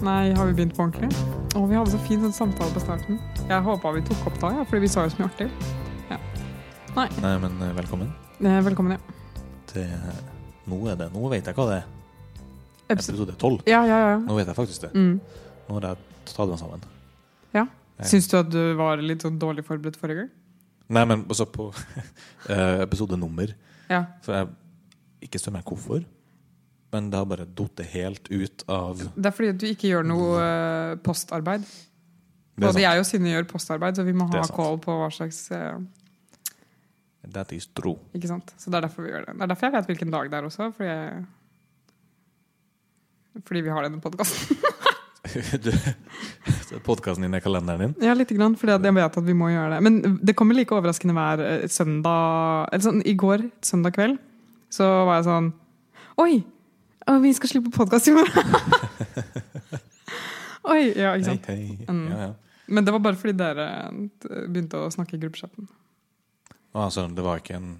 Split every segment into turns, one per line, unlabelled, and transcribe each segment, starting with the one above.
Nei, har vi begynt på ordentlig? Å, vi hadde så fin sånn samtale på starten. Jeg håpa vi tok opp da, ja, fordi vi sa jo så mye artig. Ja. Nei.
Nei, men eh, velkommen
eh, Velkommen, ja.
til Nå er det, nå vet jeg hva det er.
Episode
Episode 12.
Ja, ja, ja.
Nå vet jeg faktisk det.
Mm.
Nå har jeg tatt meg sammen. Ja.
Syns du at du var litt sånn dårlig forberedt forrige gang?
Nei, men altså på eh, episodenummer
Ja.
For jeg ikke stemmer jeg hvorfor, men det har bare datt helt ut av
Det er fordi at du ikke gjør noe eh, postarbeid.
Det er sånn,
Både
sant.
jeg og Synne gjør postarbeid, så vi må
Det
ha
er sant.
call på hva slags eh,
That is true.
Ikke sant? Så det er derfor vi gjør det. Det er derfor jeg vet hvilken dag det er også, fordi jeg fordi vi har denne podkasten.
Podkasten din er kalenderen din.
Ja, lite grann. Fordi at jeg vet at vi må gjøre det. Men det kommer like overraskende hver eh, søndag Eller sånn, i går, søndag kveld, så var jeg sånn Oi! å, Vi skal slippe podkast i morgen! Oi! Ja,
Hei,
ikke sant.
hei.
Mm.
Ja, ja.
Men det var bare fordi dere eh, begynte å snakke i gruppechatten.
Ah, så det var ikke en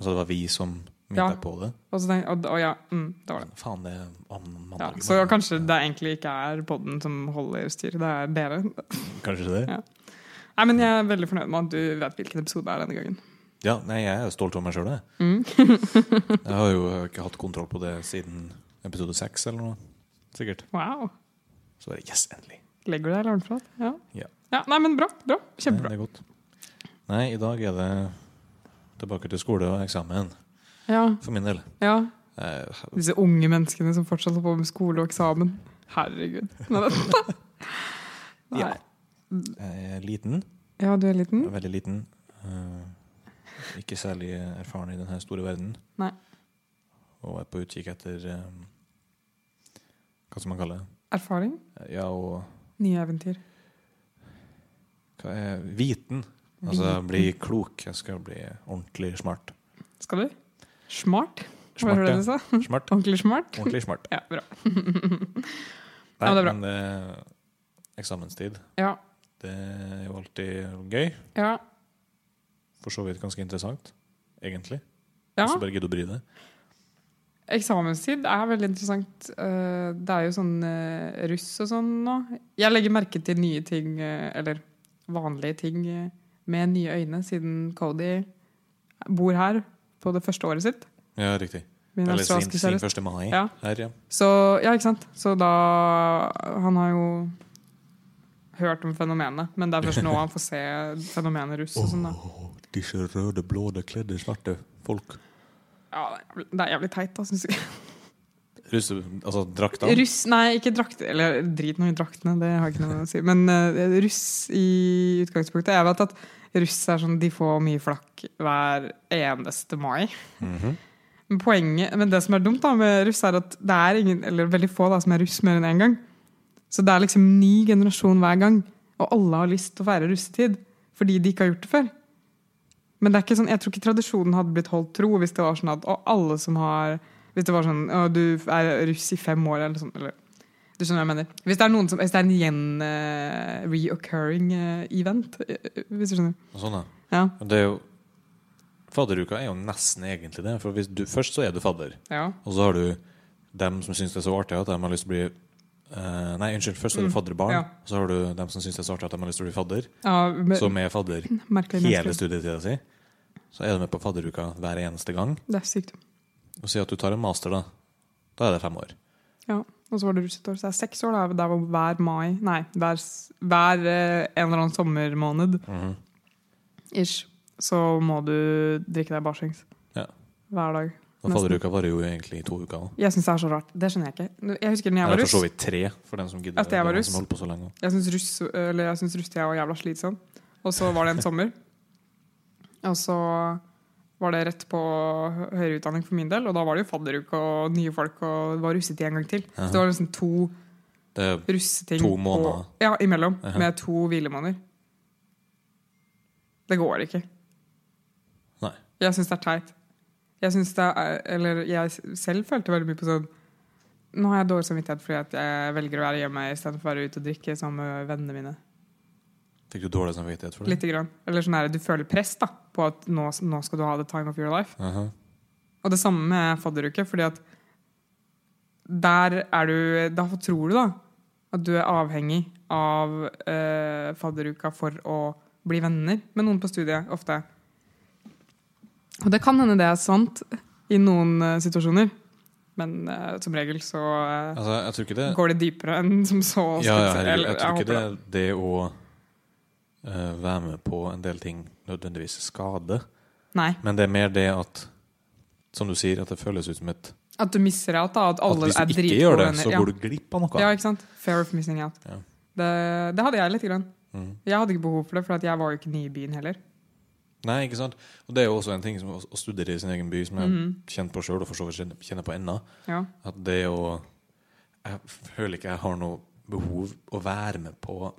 Altså, det var vi som minnet
Ja.
deg på det?
Og så tenkte jeg, og, og ja, mm, det var det.
Faen, det er om
Ja,
mandag.
så kanskje det egentlig ikke er podden som holder styr, det er dere.
Kanskje det?
Ja. Nei, men jeg er veldig fornøyd med at du vet hvilken episode det er denne gangen.
Ja, nei, jeg er jo stolt over meg sjøl, jeg. jeg har jo ikke hatt kontroll på det siden episode seks eller noe. Sikkert.
Wow.
Så bare yes, endelig.
Legger du deg alarmflat? Ja.
Ja.
ja. Nei, men bra. bra.
Nei,
Kjempebra.
det er godt. Nei, i dag er det tilbake til skole og eksamen,
Ja,
for min del.
ja.
Eh,
Disse unge menneskene som fortsatt holder på med skole og eksamen. Herregud. Nei, det-
Ja.
Nei.
Jeg er liten.
Ja, du er
Jeg
liten?
er veldig liten. Eh, Ikke særlig erfaren i denne store verden.
Nei.
Og er på utkikk etter eh, Hva skal man kalle det?
Erfaring?
Ja, og
Nye eventyr.
hva er viten. Altså bli klok. Jeg skal bli ordentlig smart.
Skal du? Smart? Hva
Smart,
var det
ja.
du sa?
Smart.
Ordentlig smart?
Ordentlig smart.
Ja, bra.
Nei,
Ja, men det er
det
bra.
men det er eksamenstid.
Ja.
Det er jo alltid gøy.
Ja.
For så vidt ganske interessant, egentlig.
ja.
Hvis du bare gidder å bry deg.
Eksamenstid er veldig interessant. Eh, Det er jo sånn eh, russ og sånn nå. Jeg legger merke til nye ting, eh, eller vanlige ting, eh, med nye øyne siden Cody bor her på det første året sitt.
Ja, riktig.
Min
Eller sin,
australske
sin
kjæreste.
første mai
Ja.
her, ja.
Så, ja, ikke sant? Så da Han har jo hørt om fenomenet, men det er først nå han får se fenomenet russ og sånn, da.
Disse røde, blåde, kledde, svarte folk.
Ja, det er jævlig- det er jævlig teit, da, syns jeg.
Russe, altså drakta.
Russ, nei, ikke drakter Eller drit nå i draktene, det har jeg ikke noe å si. Men eh, russ i utgangspunktet Jeg vet at russ er sånn de får mye flakk hver eneste mai.
Mhm.
Men poenget, men det som er dumt da med russ, er at det er ingen, eller veldig få da, som er russ mer enn én gang. Så det er liksom ny generasjon hver gang, og alle har lyst til å feire russetid fordi de ikke har gjort det før. Men det er ikke sånn, jeg tror ikke tradisjonen hadde blitt holdt tro hvis det var sånn at å, alle som har Hvis det var sånn å, du er russ i fem år, eller sånn. Eller, du skjønner hva jeg mener. Hvis det er, noen som, hvis det er en gjen eh, reoccurring eh, event, eh, hvis du skjønner.
Og Sånn, ja.
Ja.
Men Det er jo Fadderuka er jo nesten egentlig det. For hvis du, først så er du fadder,
ja.
og så har du dem som syns det er så artig at de har lyst til å bli eh, Nei, unnskyld. Først er du
Mm,
fadderbarn,
ja.
og så har du dem som syns det er så artig at de har lyst til å bli fadder.
ja men,
som er fadder
merkelige
hele
mennesker.
studietida si, så er du med på fadderuka hver eneste gang.
Det er sykt.
Og si at du tar en master, da. Da er det fem år.
Ja, og så var det russetår. Så det er seks år. Da. Der var hver mai Nei, hver, s- hver eh, en eller annen sommermåned
Mhm.
ish, så må du drikke deg barsings.
Ja.
Hver dag.
Og
Nesten.
fadderuka varer jo egentlig i to uker òg.
Jeg syns det er så rart. Det skjønner jeg ikke. Jeg husker når jeg var
Eller for så
russ.
vidt tre, for den som gidder.
At jeg var
den
russ.
Som holdt på så lenge.
Jeg syns russ, eller jeg syns russetida var jævla slitsom. Og så var det en sommer. Og så var det rett på hø- høyere utdanning for min del, og da var det jo fadderuke og nye folk, og det var russetid en gang til. Så det var liksom to
Det er
russeting
To måneder.
På, ja, imellom.
Aha.
Med to hvilemåneder. Det går ikke.
Nei.
Jeg syns det er teit. Jeg syns det er Eller jeg selv følte veldig mye på sånn Nå har jeg dårlig samvittighet fordi at jeg velger å være hjemme istedenfor å være ute og drikke sammen med vennene mine.
Fikk du dårlig samvittighet for det?
Litt grann. Eller sånn her, du føler press da på at nå, nå
Mhm.
skal du ha the time of your life.
Aha.
Og det samme med fadderuke, fordi at der er du Da tror du, da, at du er avhengig av eh, fadderuka for å bli venner med noen på studiet, ofte. Og det kan hende det er sant i noen eh, situasjoner, men eh, som regel så eh,
Altså, jeg tror ikke det
går det dypere enn som så.
Ja, ja,
skulle jeg si.
herregud.
Eller,
Jeg tror
håper
ikke det, det å eh, være med på en del ting nødvendigvis skader,
Nei.
men det er mer det at Som du sier, at det føles ut som et
At du misser out, da. At
At
alle
hvis
er
du ikke
dritgode
gjør det,
venner.
så
Ja.
går du glipp av noe.
Ja, ikke sant? Fear of missing out.
Ja.
Det, det hadde jeg litt. Grann.
Mhm.
Jeg hadde ikke behov for det, for at jeg var jo ikke ny i byen heller.
Nei, ikke sant? Og det er jo også en ting som å å studere i sin egen by, som jeg har
Mhm.
kjent på sjøl, og for så vidt kjenner- kjenner på ennå,
Ja.
at det å Jeg føler ikke jeg har noe behov å være med på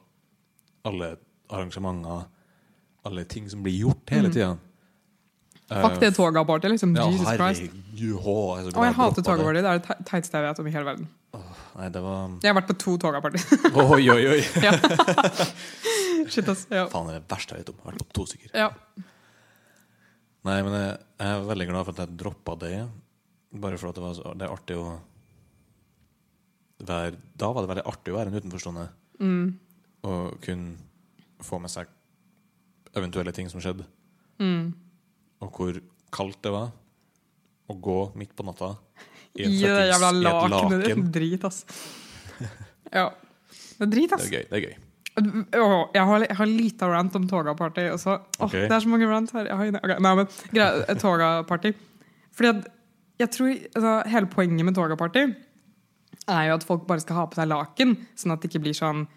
alle arrangementer, alle ting som blir gjort hele
Mhm.
tida.
Fuck det togabordet, liksom.
Eh, Ja,
Jesus Christ.
herregud, hå, jeg er så glad
Og
droppa
jeg hater togabordet. Det er det te- teiteste jeg vet om i hele verden.
Nei, det var
Jeg har vært på to togaborder.
Oi, oi, oi!
Shit, ass. Ja.
Faen, det er det verste jeg vet om. Jeg har vært på to stykker.
Ja.
Nei, men jeg, jeg er veldig glad for at jeg droppa det. Bare for at det var så, det er artig å være, Da var det veldig artig å være en utenforstående
Mm.
og kunne få med seg eventuelle ting som skjedde,
Mm.
og hvor kaldt det var å gå midt på natta i, en
Gi det
fuckings-
jævla
i et
lakenet ditt.
laken.
Drit, ass. Ja. Det er drit,
Det
ass.
er gøy. det er gøy.
Åh, jeg, har, jeg har lite rant om toga-party. og så- åh,
Ok.
Det er så mange rant her. Jeg har, ingen- ok, nei, men greia, eh, Toga-party. Fordi at jeg tror altså, Hele poenget med toga-party er jo at folk bare skal ha på seg laken, sånn at det ikke blir sånn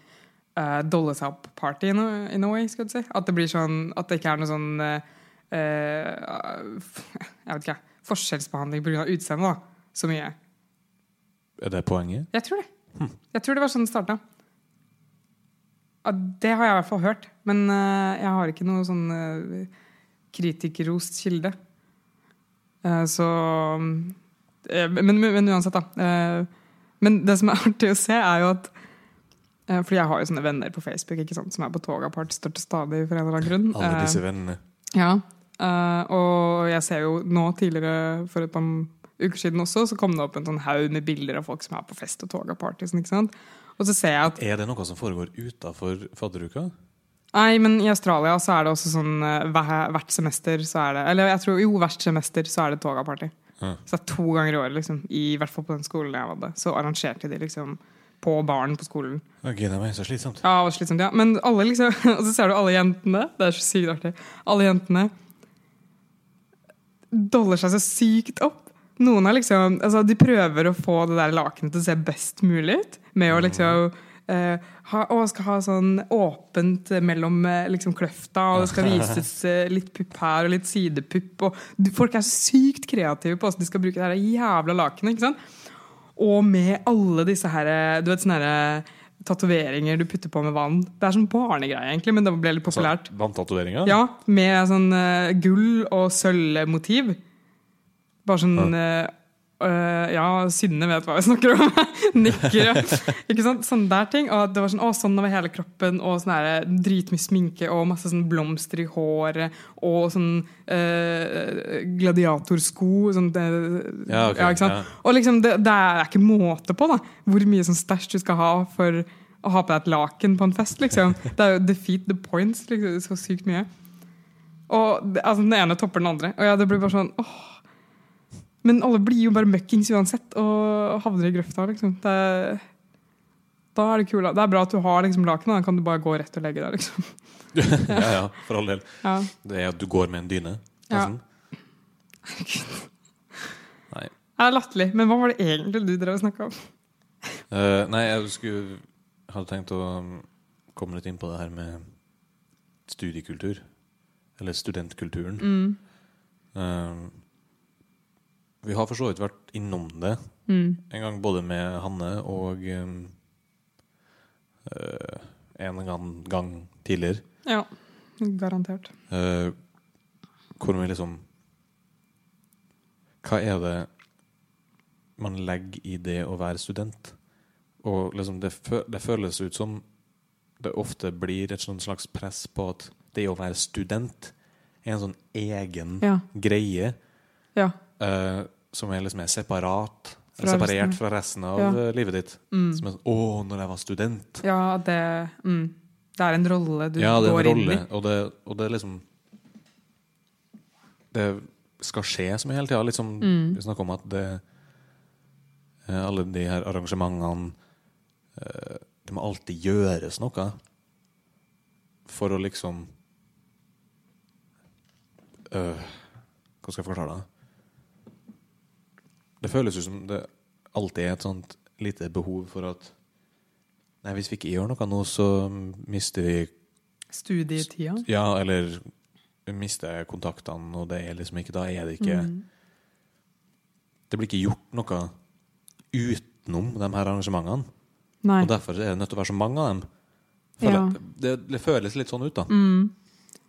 eh, dolle seg opp-party in, a- in a way. Skulle jeg si. At det blir sånn, at det ikke er noe sånn eh, eh, f- Jeg vet ikke, forskjellsbehandling pga. utseendet, da. Så mye.
Er det poenget?
Jeg tror det. Jeg tror det var sånn det starta. Ja, det har jeg i hvert fall hørt. Men eh, jeg har ikke noe sånn uh, kritikerrost kilde. Eh, så eh, men, men, men uansett, da. Eh, men det som er artig å se, er jo at uh, Fordi jeg har jo sånne venner på Facebook ikke sant, som er på toga part, står til stadig for en eller annen grunn.
Alle
Eh,
disse vennene.
ja, eh, og jeg ser jo nå tidligere, for et par uker siden også, så kom det opp en sånn haug med bilder av folk som er på fest og tog og party. Sånn, ikke sant? Og så ser jeg at
Er det noe som foregår utafor fadderuka?
Nei, men i Australia så er det også sånn eh, hver- hvert semester så er det Eller jeg tror, jo, hvert semester så er det toga-party.
Ja.
Så det er to ganger i året, liksom. I hvert fall på den skolen jeg hadde. Så arrangerte de liksom på baren på skolen.
Ok, det var så slitsomt.
Ja, det var slitsomt, ja. Men alle liksom, og så ser du alle jentene. Det er så sykt artig. Alle jentene doller seg så sykt opp. Noen er liksom, altså De prøver å få det der lakenet til å se best mulig ut. Med å liksom eh, ha, å, skal ha sånn åpent mellom eh, liksom kløfta, og det skal vises eh, litt pupp her og litt sidepupp. Og du, folk er så sykt kreative på hvordan de skal bruke det her jævla lakenet. ikke sant? Og med alle disse her, du vet, sånne her, eh, tatoveringer du putter på med vann. Det er sånn barnegreie, egentlig, men det ble litt populært.
Vanntatoveringer?
Ja, Med sånn eh, gull- og sølvmotiv. Bare sånn eh, eh, Ja, Synne vet hva vi snakker om. Nikker. ja. Ikke sant? Sånne der ting. Og det var sånn, å, sånn over hele kroppen, og sånn her, dritmye sminke og masse sånn blomster i håret. Og sånn eh, gladiatorsko. Sånn, eh,
Ja, ok,
ikke sant?
ja.
Og liksom, det, det er ikke måte på da hvor mye sånn stæsj du skal ha for å ha på deg et laken på en fest. liksom Det er jo defeat the points. Liksom, så sykt mye. Og det, altså, Den ene topper den andre. Og ja, det blir bare sånn åh. Men alle blir jo bare møkkings uansett og havner i grøfta. liksom det, er- Da er det kula. Det er bra at du har liksom lakenet. Da kan du bare gå rett og legge deg. liksom
ja, ja, for all del.
ja.
Det er at du går med en dyne.
Ja.
nesten. Nei.
Det er latterlig. Men hva var det egentlig du drev og snakka om?
Eh, nei, jeg skulle, hadde tenkt å um, komme litt inn på det her med studiekultur. Eller studentkulturen.
Mm.
Eh, vi har for så vidt vært innom det
Mm.
en gang, både med Hanne og um, eh, en gang, gang tidligere.
Ja. Garantert.
Eh, hvor vi liksom Hva er det man legger i det å være student? Og liksom det, fø det føles ut som det ofte blir et sånn slags press på at det å være student er en sånn egen
Ja.
greie
Ja.
eh, som er liksom er separat
Fra
separert
resten.
fra resten av
Ja.
eh, livet ditt.
Mm.
Som er sånn Å, når jeg var student!
Ja, det mm. Det er en rolle du
ja, det er en
går inn
rolle,
i.
og det, og det er liksom Det skal skje så mye hele tida. Liksom,
Mm.
Vi snakker om at det eh, Alle de her arrangementene eh, Det må alltid gjøres noe for å liksom øh, Hva skal jeg forklare det? Det føles ut som det alltid er et sånt lite behov for at Nei, hvis vi ikke gjør noe nå, så mister vi
Studietida.
ja, eller mister jeg kontaktene, og det er liksom ikke Da er det ikke
Mm.
Det blir ikke gjort noe utenom de her arrangementene.
Nei.
Og derfor er det nødt til å være så mange av dem.
Ja.
Føler- Det, det føles litt sånn ut, da.
Mm.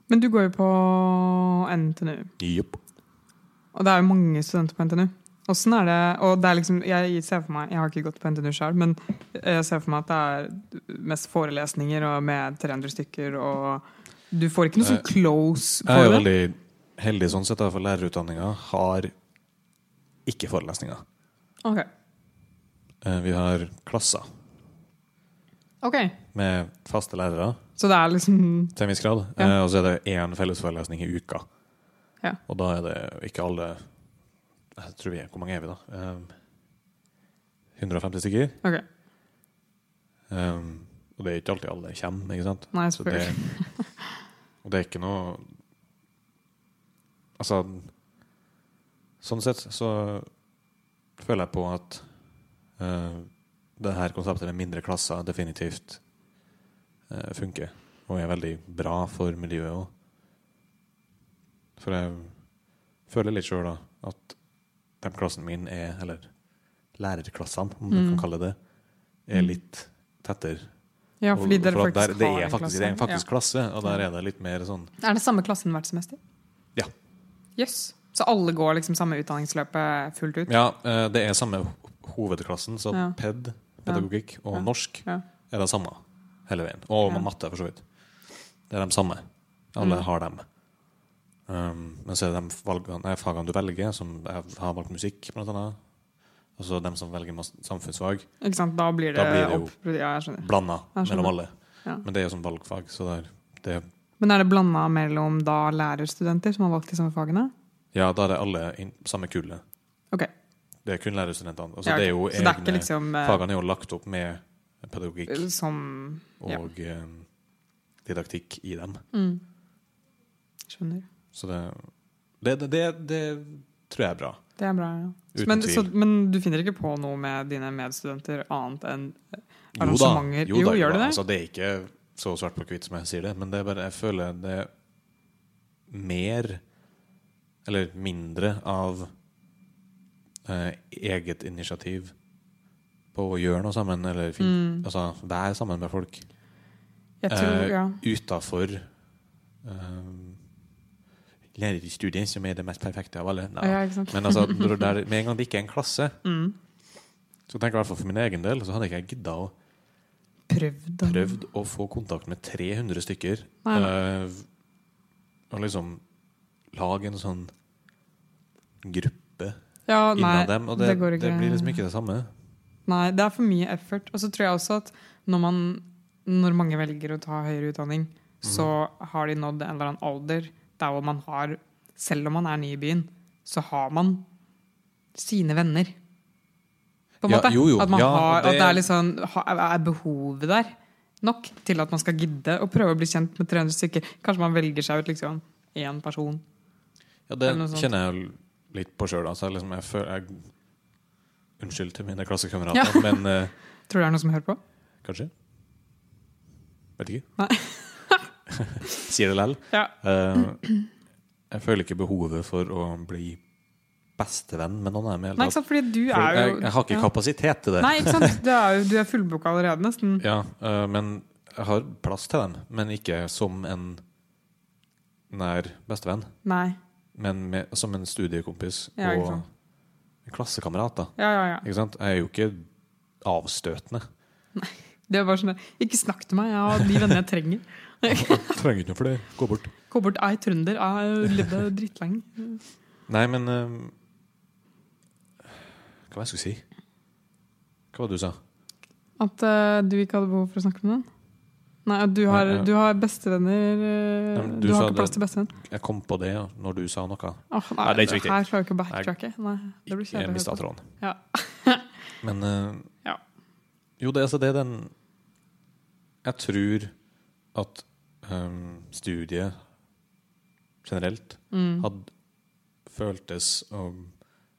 Men du går jo på NTNU.
Jopp.
Og det er jo mange studenter på NTNU. Hvordan er det, og det er liksom, jeg ser for meg, jeg har ikke gått på NTNU selv, men eh, jeg ser for meg at det er mest forelesninger og med 300 stykker, og du får ikke noe sånn
Eh,
close
Jeg er jo
for det.
veldig heldig sånn sett, da, for lærerutdanninga har ikke forelesninger.
Ok,
Eh, Vi har klasser
ok.
med faste lærere
Så det er liksom,
til en viss grad.
Ja.
Eh, Og så er det én fellesforelesning i uka.
Ja.
Og da er det ikke alle jeg tror vi er, Hvor mange er vi, da? Um, 150 stykker.
ok.
Um, og det er ikke alltid alle kommer, ikke sant?
Nei,
Så det,
selvfølgelig.
og det er ikke noe Altså Sånn sett så føler jeg på at eh, det her konseptet med mindre klasser definitivt eh, funker. Og er veldig bra for miljøet òg. For jeg føler litt sjøl, da, at den klassen min er Eller lærerklassene, om du
Mm.
kan kalle det, er
Mm.
litt tettere
Ja, fordi
og-
dere
for at
faktisk
der, det
har
er
en
faktisk,
klasse.
det er en faktisk klasse, og der er det litt mer sånn
Ja. Er det samme klassen hvert semester?
Ja.
Yes. Så alle går liksom samme utdanningsløpet fullt ut?
Ja, eh, det er samme ho- hovedklassen, så
Ja.
ped, pedagogikk og
Ja.
norsk
Ja.
er det samme hele veien. Og
Ja.
matte, for så vidt. Det er de samme. Alle
Mm.
har dem. Um, men så er det de valgene, nei, fagene du velger, som jeg har valgt musikk, blant annet. Og så dem som velger mas- samfunnsfag,
Ikke sant? Da blir det,
Da blir det jo-
opp... Ja, jeg skjønner.
blanda
Jeg skjønner.
mellom alle.
Ja.
Men det er jo sånn valgfag, så der, det,
Men er det blanda mellom da lærerstudenter som har valgt de samme fagene?
ja, da er det alle inn- samme kullet.
Ok.
Det er kun lærerstudentene. Altså,
Ja, ok.
det er jo
så det er ikke
egne-
liksom eh,
Fagene er jo lagt opp med pedagogikk
som ja.
og eh, didaktikk i dem.
mm. Skjønner.
Så det det, det, det, det tror jeg er bra.
Det er bra, ja.
Uten
Men,
tvil.
så, men du finner ikke på noe med dine medstudenter annet enn
Jo da.
Arrangementer.
Jo,
Jo,
da,
gjør
da.
det det?
Altså, det er ikke så svart på hvitt som jeg sier det, men det er bare, jeg føler det er mer Eller mindre av eh, eget initiativ på å gjøre noe sammen, eller fin,
mm.
altså, være sammen med folk.
Jeg tror,
Eh,
ja.
utafor um, lærerstudiet, som er det mest perfekte av alle. Nei.
ja. Ikke sant?
Men altså, når det er- med en gang det ikke er en klasse,
Mm.
så tenker jeg i hvert fall for min egen del, så hadde ikke jeg gidda å
Prøvd. å-
prøvd å få kontakt med 300 stykker.
Nei, nei.
eh, og liksom lage en sånn gruppe
Ja, nei,
innad dem. Og det,
det går
det,
ikke.
blir liksom ikke det samme.
Nei, det er for mye effort. Og så tror jeg også at når, man, når mange velger å ta høyere utdanning,
Mhm.
så har de nådd en eller annen alder der hvor man har Selv om man er ny i byen, så har man sine venner. På en
Ja,
måte.
jo, jo.
At, man
Ja,
har,
og det-
at det er litt sånn ha- Er behovet der nok til at man skal gidde å prøve å bli kjent med 300 stykker? Kanskje man velger seg ut liksom én person.
Ja, det
Eller noe sånt.
kjenner jeg jo litt på sjøl. Altså, jeg liksom, jeg føler- jeg- unnskyld til mine klassekamerater,
Ja.
men eh,
Tror du det er noen som hører på?
Kanskje? Vet ikke.
Nei.
Sier det lell.
Ja.
Eh, jeg føler ikke behovet for å bli bestevenn med noen. av dem i hele
Nei, ikke
tatt.
sant? Fordi du
For
er jo
jeg, jeg har ikke
ja.
kapasitet til det.
Nei, ikke sant? Du er, jo, du er fullboka allerede, nesten.
Ja, eh, men jeg har plass til dem. Men ikke som en nær bestevenn.
Nei.
Men med, som en studiekompis
Ja, ikke
og
sant.
en klassekamerat. da.
Ja, ja, ja.
Ikke sant? Jeg er jo ikke avstøtende.
Det er bare sånn der, Ikke snakk til meg, jeg har de vennene jeg trenger.
Trenger ikke noe for det. Gå bort.
Gå bort, jeg er trønder, jeg levde dritlenge.
Nei, men eh, Hva var det jeg skulle si? Hva var det du sa?
At eh, du ikke hadde behov for å snakke med noen? Nei, at du har,
Nei, ja.
du har bestevenner eh,
Nei, men
Du,
du sa
har ikke
det-
plass til bestevenn?
Jeg kom på det ja, når du sa noe.
Åh, nei,
Nei, det er ikke viktig.
Her klarer jeg ikke å backtracke. Nei, det blir
Jeg
kjedelig.
mista
å høre på.
tråden.
Ja.
Men eh,
Ja.
Jo, det, er altså, det er den Jeg tror at um, studiet generelt
Mm.
hadde føltes og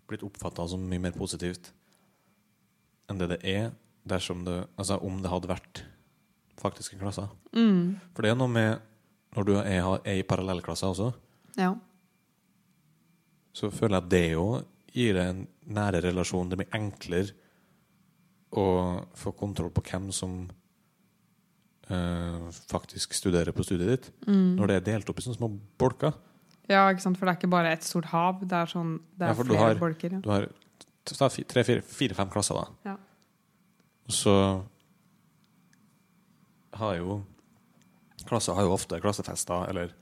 blitt oppfatta som mye mer positivt enn det det er dersom det, altså om det hadde vært faktiske klasser.
Mm.
For det er noe med når du er, er i parallellklasser også,
Ja.
så føler jeg at det jo gir deg en nære relasjon. Det blir enklere å få kontroll på hvem som eh, faktisk studerer på studiet ditt.
Mm.
Når det er delt opp i sånne små bolker.
ja, ikke sant? For det er ikke bare et stort hav. Det er, sånn, det
Ja,
er
for du
flere
har-
bolker. Ja.
Du har tre-fire-fem klasser, da.
Ja.
Og så har jo Klasser har jo ofte klassefester eller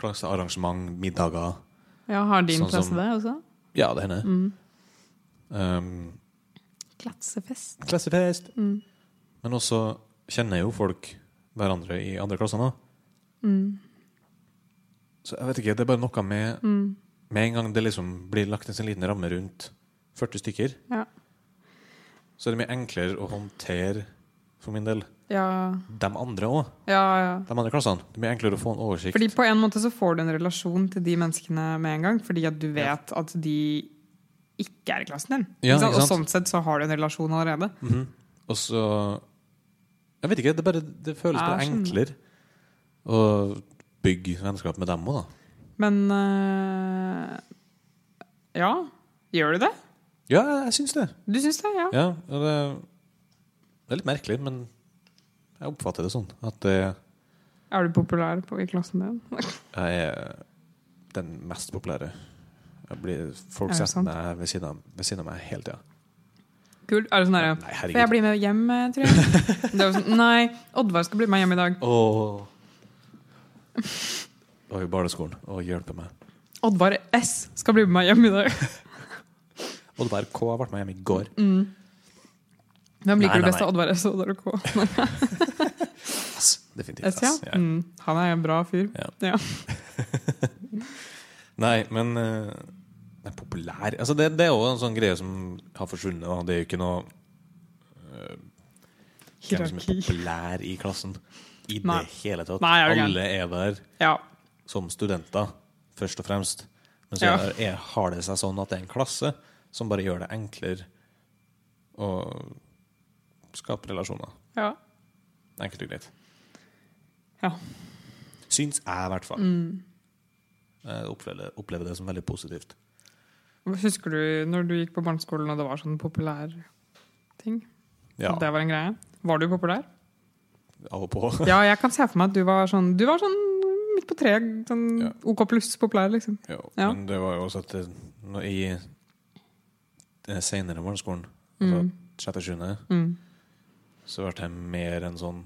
klassearrangement, middager.
ja, Har din
Sånn
klasse
som-
det også?
Ja, det hender.
Mm.
Um,
Klassefest.
klassefest!
Mm.
Men også kjenner jo folk hverandre i andre klasser nå.
Mm.
Så jeg vet ikke, det er bare noe med
Mm.
Med en gang det liksom blir lagt en sånn liten ramme rundt 40 stykker,
Ja.
så er det mye enklere å håndtere, for min del,
Ja,
de andre òg.
ja, ja.
De andre klassene. Det er mye enklere å få en oversikt.
Fordi på en måte så får du en relasjon til de menneskene med en gang, fordi at du vet at de ikke er i klassen din.
Ja,
ikke sant?
ikke
Og
sant?
sånn sett så har du en relasjon allerede.
Mhm. Og så Jeg vet ikke, det, bare, det føles
Ja,
bare
jeg sånn- skjønner.
enklere å bygge vennskap med dem òg, da.
Men øh, ja, gjør du det?
Ja, jeg syns det.
Du syns det, ja?
Ja, og det, det er litt merkelig, men jeg oppfatter det sånn at det
Er du populær på, i klassen din?
jeg er den mest populære. Jeg blir, folk
Er det
setter
sant?
meg ved siden, av, ved siden av meg hele tida.
Kult. Er det sånn
Nei,
der, Får jeg
herregud.
bli med hjem, eh, tror jeg? Det er jo sånn, nei, Oddvar skal bli med hjem i dag.
Åh. Og i barneskolen. Og hjelpe meg.
Oddvar S skal bli med meg hjem i dag.
Og det var K jeg ble med hjem i går.
Mm. Hvem
Nei, nei,
liker du best
nei.
av Oddvar S og Oddvar K?
Ass, definitivt.
S, ja.
Ass. Ja.
Mm. Han er en bra fyr.
Nei, men eh, den er populær altså, det, det er jo en sånn greie som har forsvunnet. Og det er jo ikke noe eh, hvem som er
Hierarki.
populær i klassen i
Nei.
det hele tatt.
Nei, er du gæren.
Alle er der
Ja.
som studenter, først og fremst. Men så
Ja.
er, er, har det seg sånn at det er en klasse som bare gjør det enklere å skape relasjoner.
ja.
Enkelt og greit.
Ja.
Syns jeg, i hvert fall.
Mm.
Jeg opplever, opplever det som veldig positivt.
Husker du når du gikk på barneskolen og det var sånn populær ting?
Ja,
At Det var en greie. Var du populær?
av og på.
Ja, jeg kan se for meg at du var sånn Du var sånn midt på treet. Sånn
Ja.
OK pluss populær, liksom.
Jo,
Ja.
Men det var jo også at det, når jeg det senere barneskolen, altså
Mm.
sjette og sjuende,
Mm.
så ble jeg mer en sånn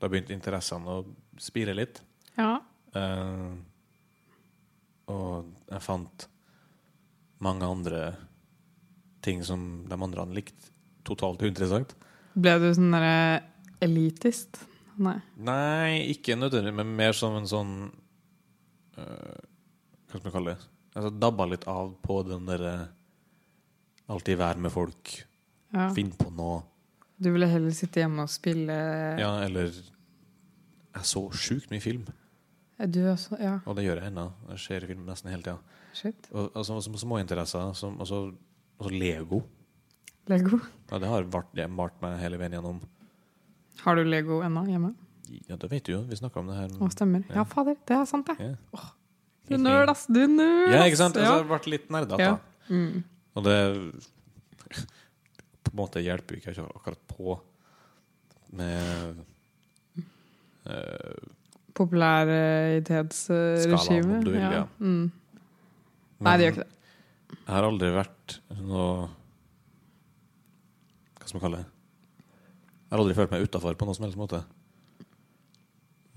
Da begynte interessene å spire litt.
Ja.
Eh, og jeg fant mange andre ting som de andre hadde likt. Totalt uinteressant.
Ble du sånn derre elitist? Nei.
Nei, ikke nødvendigvis, men mer som en sånn eh, Hva skal man kalle det? Altså dabba litt av på den eh, derre alltid være med folk,
Ja.
finn på noe.
Du ville heller sitte hjemme og spille
Ja, eller Jeg så sjukt mye film,
Er Du også? Ja,
og det gjør jeg ennå. Jeg ser film nesten hele tida.
shit.
Og altså, som småinteresser, som altså, altså Lego.
Lego.
Ja, det har vært det malt meg hele veien gjennom.
Har du Lego ennå hjemme?
Ja, det vet du jo. Vi snakka om det her.
Å, stemmer.
Ja.
Ja, fader. Det er sant, det.
Ja.
Du nerd, ass. Du nerd.
Ja,
ass.
ikke sant? Altså,
Ja.
jeg har vært litt nerdete.
Ja.
da.
Mm.
Og det på en måte hjelper jo ikke akkurat på med eh, Skalaen,
popularitetsregime.
om du vil, ja.
Mm. Nei, det gjør ikke det.
Jeg har aldri vært noe Hva skal man kalle det? Jeg har aldri følt meg utafor på noen som helst måte.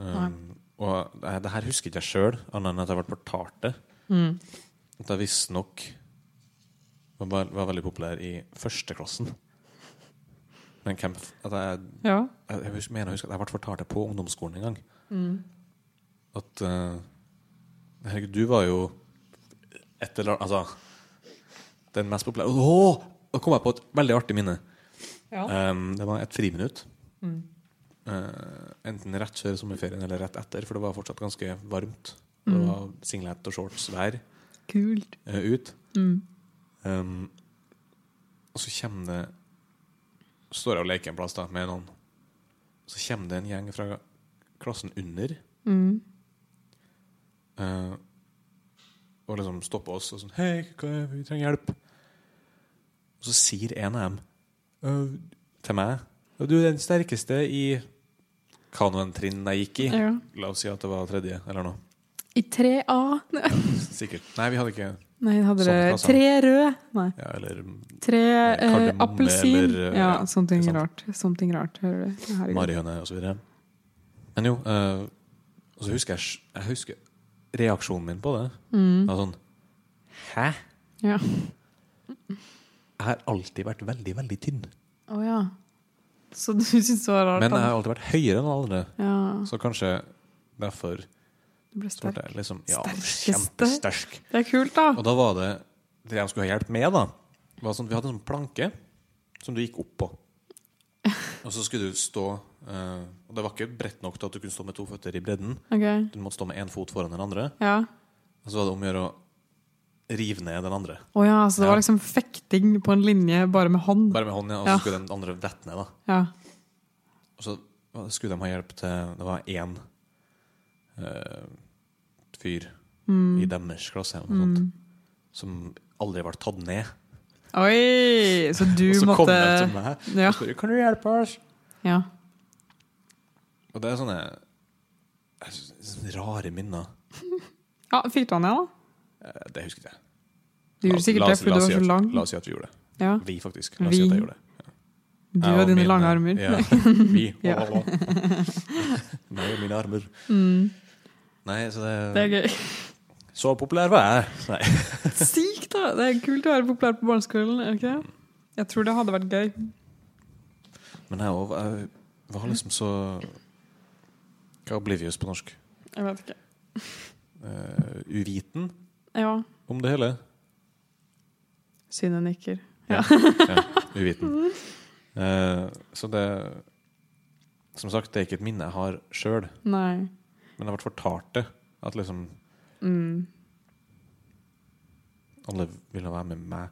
Um, og det, det her husker ikke jeg sjøl, annet enn at jeg ble fortalt det.
Mm.
At jeg visstnok var, var veldig populær i førsteklassen. Men hvem f- at jeg,
Ja.
jeg, jeg husker- mener jeg husker at jeg ble fortalt det på ungdomsskolen en gang. At eh, Herregud, du var jo et eller annet Altså den mest populære Åh! Da kom jeg på et veldig artig minne.
Ja.
Ehm, det var et friminutt. Eh, enten rett før sommerferien eller rett etter, for det var fortsatt ganske varmt. Det var singlet og shorts vær
Kult.
eh, ut.
Mm.
Ehm, og så kommer det Så står jeg og leker en plass da med noen. Så kommer det en gjeng fra klassen under
Mm.
eh, og liksom stopper oss og sånn 'Hei, hva- vi trenger hjelp.' Og så sier en av dem eh, til meg 'Du er den sterkeste i kanoen-trinn jeg gikk i.'
Ja.
La oss si at det var tredje eller noe.
I 3A.
Sikkert. Nei, vi hadde ikke
Nei, hadde
Sånn
dere
klasse.
tre røde? Nei.
ja, Eller
Tre eh,
Kardemomme
appelsin.
eller, eh,
ja,
ja,
sånne ting
ikke sant.
rart. Sånne ting rart, hører du. Herregud.
marihøne og så videre. Men jo, eh, og så husker jeg, sj- jeg husker reaksjonen min på det.
Mm.
Det var sånn Hæ?
Ja.
Jeg har alltid vært veldig, veldig tynn.
Å ja. Så du syns det var rart?
Men eh, jeg
at-
har alltid vært høyere enn alle andre.
Ja,
Så kanskje derfor
du ble
så ble
sterk.
jeg liksom ja,
Sterkeste.
kjempesterk.
Det er kult, da.
Og da var det det jeg skulle ha hjelp med, da. Var sånn, vi hadde en sånn planke som du gikk opp på. Og så skulle du stå eh, Og det var ikke bredt nok til at du kunne stå med to føtter i bredden.
Ok.
Du måtte stå med én fot foran den andre.
Ja.
Og så var det om å gjøre å rive ned den andre.
Å ja, så det
Ja.
var liksom fekting på en linje, bare med hånd?
Bare med hånda, og så
Ja.
skulle den andre dette ned. da.
Ja.
Og så skulle de ha hjelp til Det var én eh, fyr
Mm.
i deres klasse eller noe sånt, som aldri ble tatt ned.
Oi! Så du
og så kom
måtte
de til meg
Ja.
og spurte kan du hjelpe oss.
ja.
Og det er sånne, jeg synes- sånne rare minner.
ja fikk du han igjen, da?
Eh, Det husker jeg.
Du gjorde sikkert det fordi du var så lang.
La oss si at vi gjorde det.
Ja.
Vi, faktisk. La oss si
Vi.
at jeg gjorde det.
Du
Jeg
og dine
mine-
lange armer.
Ja. Vi.
Ja.
Å, å, å. Meg og mine armer. Nei, så
Mm. Det
det,
er gøy.
Så populær var jeg. Nei.
Sykt, da! Det er kult å være populær på barneskolen. er det ikke det? Jeg tror det hadde vært gøy.
Men jeg, også, jeg var liksom så Hva er oblivious på norsk?
Jeg vet ikke.
Eh, uviten
Ja.
om det hele.
Synet nikker.
Ja, uviten. Eh, så det Som sagt, det er ikke et minne jeg har sjøl,
Nei.
men jeg har vært fortalt det. At liksom
Mm.
alle ville være med meg.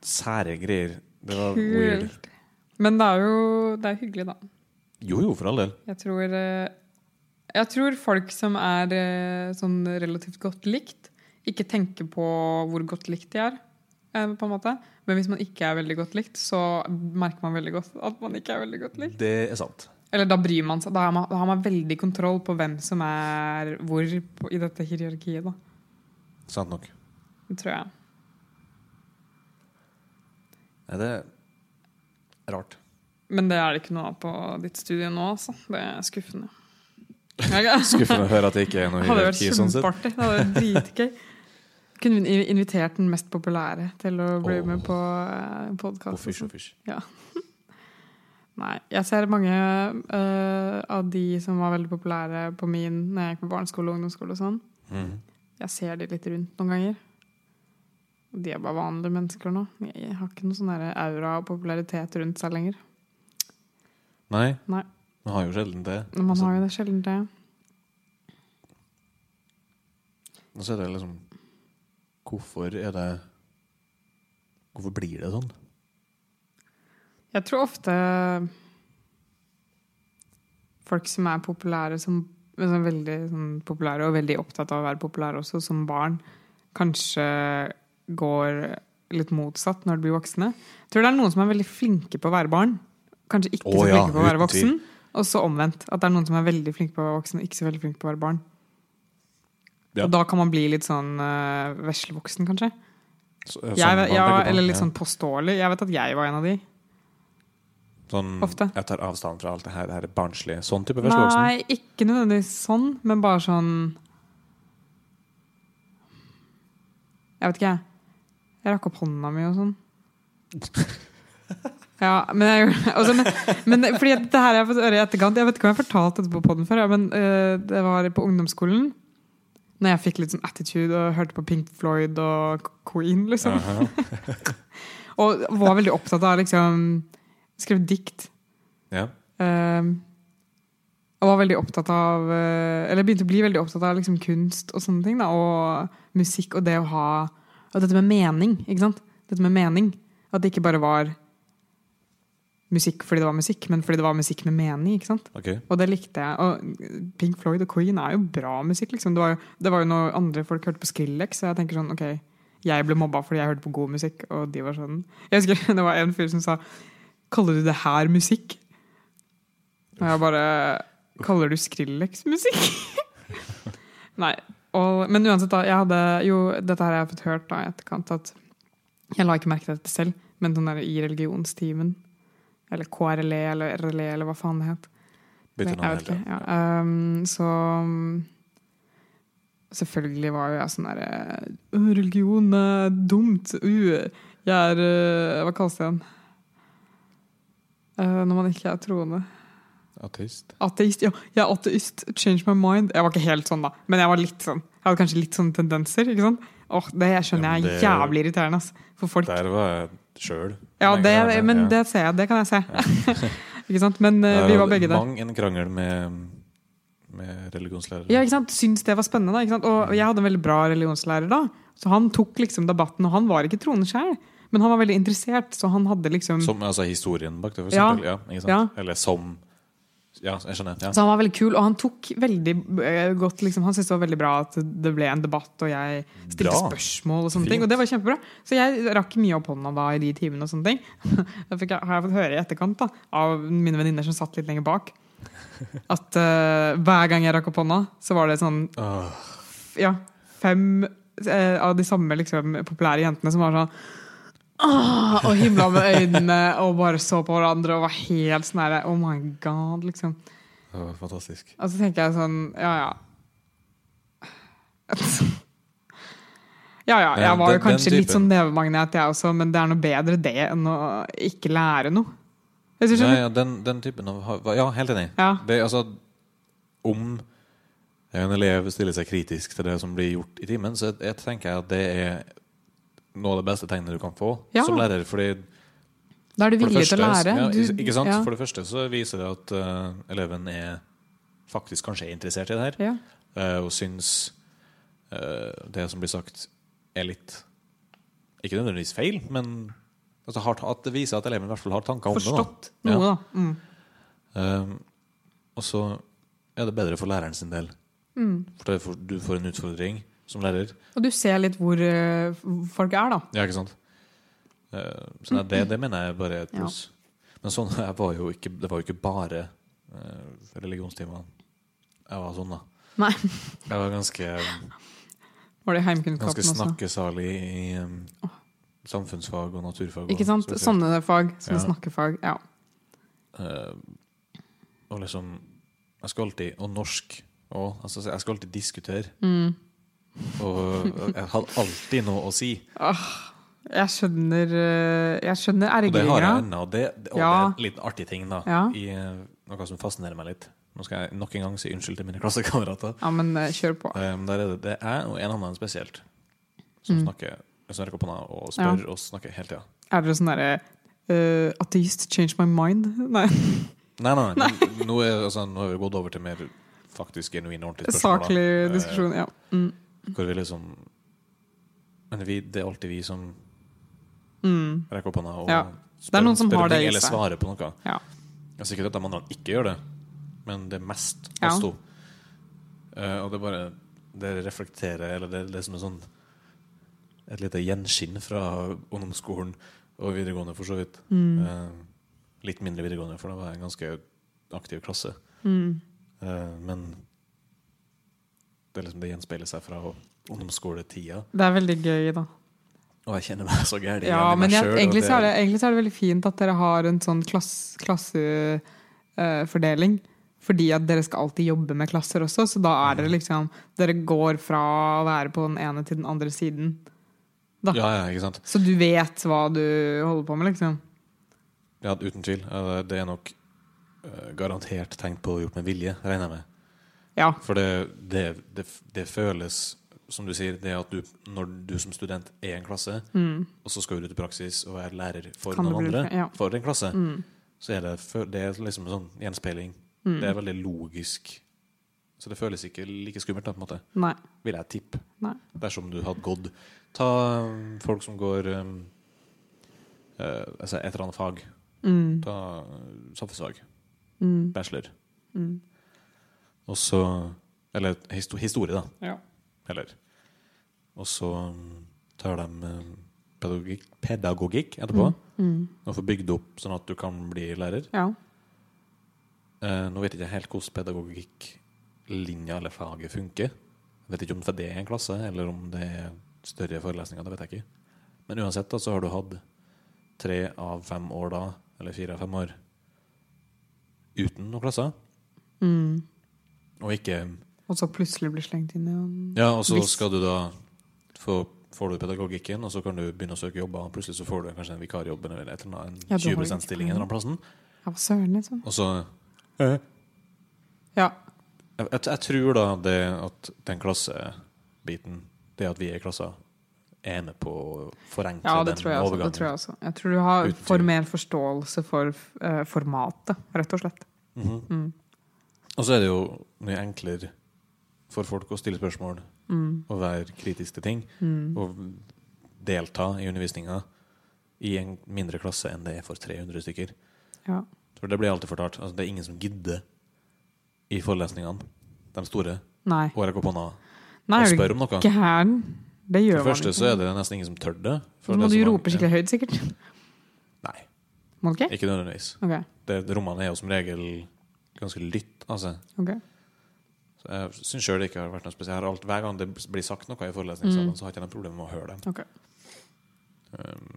Sære greier. Det var weird.
Kult. Men det er jo det er hyggelig, da.
Jo jo, for all del.
Jeg tror, eh, jeg tror folk som er eh, sånn relativt godt likt, ikke tenker på hvor godt likt de er. eh, på en måte. Men hvis man ikke er veldig godt likt, så merker man veldig godt at man ikke er veldig godt likt.
Det er sant.
Eller da bryr man seg. Da, er man, da har man veldig kontroll på hvem som er hvor på, i dette hierarkiet. da.
Sant nok.
Det tror jeg.
Nei, det er rart.
Men det er det ikke noe av på ditt studie nå, altså. Det er skuffende. Jeg-
Skuffende å høre at det ikke er noe
Det hadde vært
hierarki sånn sett.
kjempeartig. Det hadde vært dritgøy. Kunne vi in- invitert den mest populære til å bli
Åh.
med på eh,
Å, fysj,
podkast?
å, fysj.
Nei. Jeg ser mange eh, av de som var veldig populære på min når jeg gikk på barneskole og ungdomsskole og sånn.
Mhm.
Jeg ser de litt rundt noen ganger. Og de er bare vanlige mennesker nå. Jeg har ikke noe sånn der aura og popularitet rundt seg lenger.
Nei.
Nei.
Man har jo sjelden det.
Men Man
Altså,
har jo det sjelden det.
Og så er det liksom Hvorfor er det Hvorfor blir det sånn?
Jeg tror ofte folk som er populære som men sånn veldig sånn, populære og veldig opptatt av å være populære også som barn, kanskje går litt motsatt når de blir voksne. Jeg tror det er noen som er veldig flinke på å være barn, kanskje ikke
Å
så
ja,
flinke på å være
uten
voksen. Og så omvendt. At det er noen som er veldig flinke på å være voksen, og ikke så veldig flinke på å være barn.
Ja.
Og da kan man bli litt sånn uh, veslevoksen, kanskje.
Så-
Jeg,
sånn
vet- ja,
man tenker på,
eller litt
ja.
sånn påståelig. Jeg vet at jeg var en av de.
Sånn,
ofte.
Jeg tar avstand fra alt det her, det her barnslige. Sånn type veslevoksen.
Nei, ikke nødvendigvis sånn, men bare sånn Jeg vet ikke, jeg. Jeg rakk opp hånda mi og sånn. Ja, men jeg gjorde det. også, men, men fordi det her har jeg fått høre i etterkant Jeg vet ikke om jeg fortalte dette på podden før, ja, men eh, det var på ungdomsskolen. Når jeg fikk litt sånn attitude og hørte på Pink Floyd og Queen, liksom.
Aha.
Og var veldig opptatt av liksom Skrev dikt.
Ja.
eh, og var veldig opptatt av eh, Eller begynte å bli veldig opptatt av liksom kunst og sånne ting. Da, og musikk og det å ha Og dette med mening, ikke sant? Dette med mening. At det ikke bare var musikk fordi det var musikk, men fordi det var musikk med mening. ikke sant?
OK.
Og det likte jeg. Og Pink Floyd og Queen er jo bra musikk, liksom. Det var jo, det var jo når andre folk hørte på Skrillex, så jeg tenker sånn, ok, jeg ble mobba fordi jeg hørte på god musikk, og de var sånn. Jeg husker det var en fyr som sa, kaller du det her musikk? Og jeg bare, kaller du Skrillex musikk? Nei. Og, men uansett da, jeg hadde jo, dette her har jeg fått hørt da i etterkant, at jeg la ikke merke til dette selv, men sånn der i religionstimen, eller KRLE, E, eller RLE, eller hva faen det het.
Bytte navn
Jeg vet
hele
ikke, ja. Ehm, så um, Selvfølgelig var jo jeg sånn derre Religion er dumt. Uh, jeg er øh, Hva kalles det igjen? Eh, når man ikke er troende.
Ateist.
Ateist. Ja, jeg er ateist. Change my mind. Jeg var ikke helt sånn, da, men jeg var litt sånn. Jeg hadde kanskje litt sånne tendenser. ikke sant? Åh, Det skjønner
Ja, men
jeg
det-
er jævlig irriterende ass, for folk.
Der var jeg sjøl.
Ja, det, Men det ser jeg. Det kan jeg se. ikke sant? Men eh, vi var begge der.
Mang en krangel med, med religionslærer.
Ja, ikke sant? Syns det var spennende. Ikke sant? Og jeg hadde en veldig bra religionslærer da. Så han tok liksom debatten, og han var ikke troende sjøl, men han var veldig interessert, så han hadde liksom
Som altså historien bak det, for
Ja.
eksempel. Ja, ikke sant?
Ja.
Eller som Ja, jeg skjønner. Ja.
Så han var veldig kul, og han tok veldig eh, godt liksom, Han syntes det var veldig bra at det ble en debatt, og jeg stilte
Bra.
spørsmål og sånne ting.
Fint.
Og det var kjempebra. Så jeg rakk mye opp hånda da i de timene og sånne ting. Det fikk jeg, har jeg fått høre i etterkant da, av mine venninner som satt litt lenger bak, at eh, hver gang jeg rakk opp hånda, så var det sånn
Åh,
ja, fem eh, av de samme liksom, populære jentene som var sånn «Åh!» og himla med øynene og bare så på hverandre og var helt sånn her Oh my god, liksom.
det var fantastisk.
Og så tenker jeg sånn Ja, ja. Ja, ja, jeg
Ja,
var jo
den- den
kanskje litt
typen.
sånn nevemagnet, jeg også, men det er noe bedre det enn å ikke lære noe. Hvis du
Nei,
skjønner?
ja, den, den typen av ha- Ja, helt enig.
Ja.
Det, er altså, om en elev stiller seg kritisk til det som blir gjort i timen, så jeg, jeg tenker jeg at det er noe av det beste tegnet du kan få
Ja.
som lærer. Fordi
Da er du
For det
villig til å
første-
lære.
Ja,
Du-
ikke sant?
Ja,
For det første så viser det at eh, eleven er faktisk kanskje er interessert i det her,
ja.
eh, og syns eh, det som blir sagt, er litt Ikke nødvendigvis feil, men altså, har, ta- at det viser at eleven i hvert fall har tanker om
Forstått
Ja.
noe, da. Mm.
det. da. Eh, og så er det bedre for læreren sin del. For, det, for du får en utfordring som lærer.
Mm. Og du ser litt hvor eh, folk er, da.
Ja, ikke sant? Eh, Så nei, det, det mener jeg bare er et
Ja.
pluss. Men sånn, jeg var jo ikke, det var jo ikke bare uh, religionstimene. Jeg var sånn, da.
Nei.
Jeg var ganske,
Var det i heimkunnskapen
ganske
også?
snakkesalig i em, samfunnsfag og naturfag. og
Ikke sant? Sånn-
spesielt.
Sånne fag. Sånne
Ja.
snakkefag. Ja.
Eh, og liksom Jeg skal alltid Og norsk òg. Altså, jeg skal alltid diskutere.
Mm.
Og jeg hadde alltid noe å si.
Jeg skjønner eh, Jeg skjønner
Og det har
ergringa.
jeg ennå. og Det, det, og det
Ja.
er en liten artig ting, da.
Ja.
I, eh, noe som fascinerer meg litt. Nå skal jeg nok en gang si unnskyld til mine klassekamerater.
Ja, men eh, kjør på.
Eh, men der er det, det er og en annen spesielt som
Mm.
snakker som rekker opp hånda og spør og snakker hele tida.
Er dere sånn derre eh, Ateist change my mind? Nei.
Nei, nei, nei. men Nå, er, altså, nå har vi gått over til mer faktisk genuine, ordentlige spørsmål. da.
Saklig
Eh,
diskusjon. Ja. Mm.
hvor vi liksom Men vi, det er alltid vi som
Mm.
rekker opp hånda og
Ja.
spør,
Det er noen som
spør om
har det
ting
i
eller
seg.
svarer på noe.
Ja.
Det er sikkert at de andre ikke gjør det, men det er mest
Ja.
oss to. Eh, og det er bare Det reflekterer Eller det, det er som en sånn et lite gjenskinn fra ungdomsskolen og videregående, for så vidt.
Mm.
Eh, litt mindre videregående, for da var jeg en ganske aktiv klasse.
mm.
Eh, men det er liksom det gjenspeiler seg fra ungdomsskoletida.
Det er veldig gøy, da.
Og jeg kjenner meg så gæren
Ja,
igjen i meg
men jeg,
sjøl.
egentlig, så er det, egentlig så er det veldig fint at dere har en sånn klassefordeling. fordi at dere skal alltid jobbe med klasser også, så da
Mm.
er dere liksom Dere går fra å være på den ene til den andre siden. da.
Ja, ja, ikke sant?
Så du vet hva du holder på med, liksom.
Ja, uten tvil. Eh, Det er nok eh, garantert tenkt på og gjort med vilje, regner jeg med.
Ja.
For det, det, det, det føles, som du sier, det at du, når du som student er i en klasse,
Mm.
og så skal du ut i praksis og være lærer for
Kan det
noen
bli-
andre,
ja.
for en klasse,
Mm.
så er det, fø- det er liksom en sånn gjenspeiling.
Mm.
Det er veldig logisk. Så det føles ikke like skummelt, da, på en måte.
Nei.
Vil jeg tippe.
Nei.
Dersom du hadde gått Ta um, folk som går um, eh, altså et eller annet fag.
Mm.
Ta uh, samfunnsfag.
Mm.
Bachelor.
Mm.
Og så Eller histo historie, da.
Ja.
Eller Og så um, tar de um, pedagogikk, pedagogikk etterpå.
Mm.
Og får bygd opp sånn at du kan bli lærer.
Ja.
Eh, nå vet jeg ikke helt hvordan pedagogikklinja eller faget funker. Jeg vet ikke om det er en klasse, eller om det er større forelesninger. Det vet jeg ikke. Men uansett da, så har du hatt tre av fem år da, eller fire av fem år, uten noen klasser.
Mm.
Og ikke
Og så plutselig blir slengt inn i en
Ja, og så
Hvis-
skal du da få Får du pedagogikken, og så kan du begynne å søke jobber. Og plutselig så får du kanskje en vikarjobb eller et eller annet, en
Ja, du har
20
jo
%-stilling en eller annen plassen.
Ja, hva søren, liksom.
Og så
Ja.
Jeg, jeg, jeg tror da det at den klassebiten, det at vi er i klasser, er med på å forenkle
Ja, det
den
tror jeg også.
overgangen.
Det tror jeg, også. jeg tror du har
Uten
får
tvil.
mer forståelse for eh, formatet, rett og slett.
Mhm.
Mm.
Og så er det jo mye enklere for folk å stille spørsmål
Mm.
og være kritisk til ting.
Mm.
Og delta i undervisninga i en mindre klasse enn det er for 300 stykker.
Ja.
For det blir alltid fortalt. Altså, det er ingen som gidder i forelesningene, de store,
Nei.
å rekke opp hånda
Nei,
og
er du
spørre om noe.
gæren? Det
For
gjør
det første
man
så er det nesten ingen som tør det. for
Så må
det
du
er så mange-
rope skikkelig høyt, sikkert.
Nei.
Må du ikke?
Ikke nødvendigvis.
Ok.
Det, rommene er jo som regel ganske lytt. Altså.
ok.
Så jeg syns sjøl det ikke har vært noe spesielt. Jeg har alt- Hver gang det blir sagt noe i forelesningssalen,
Mm.
så har ikke jeg noe problem med å høre dem.
Ok.
Um,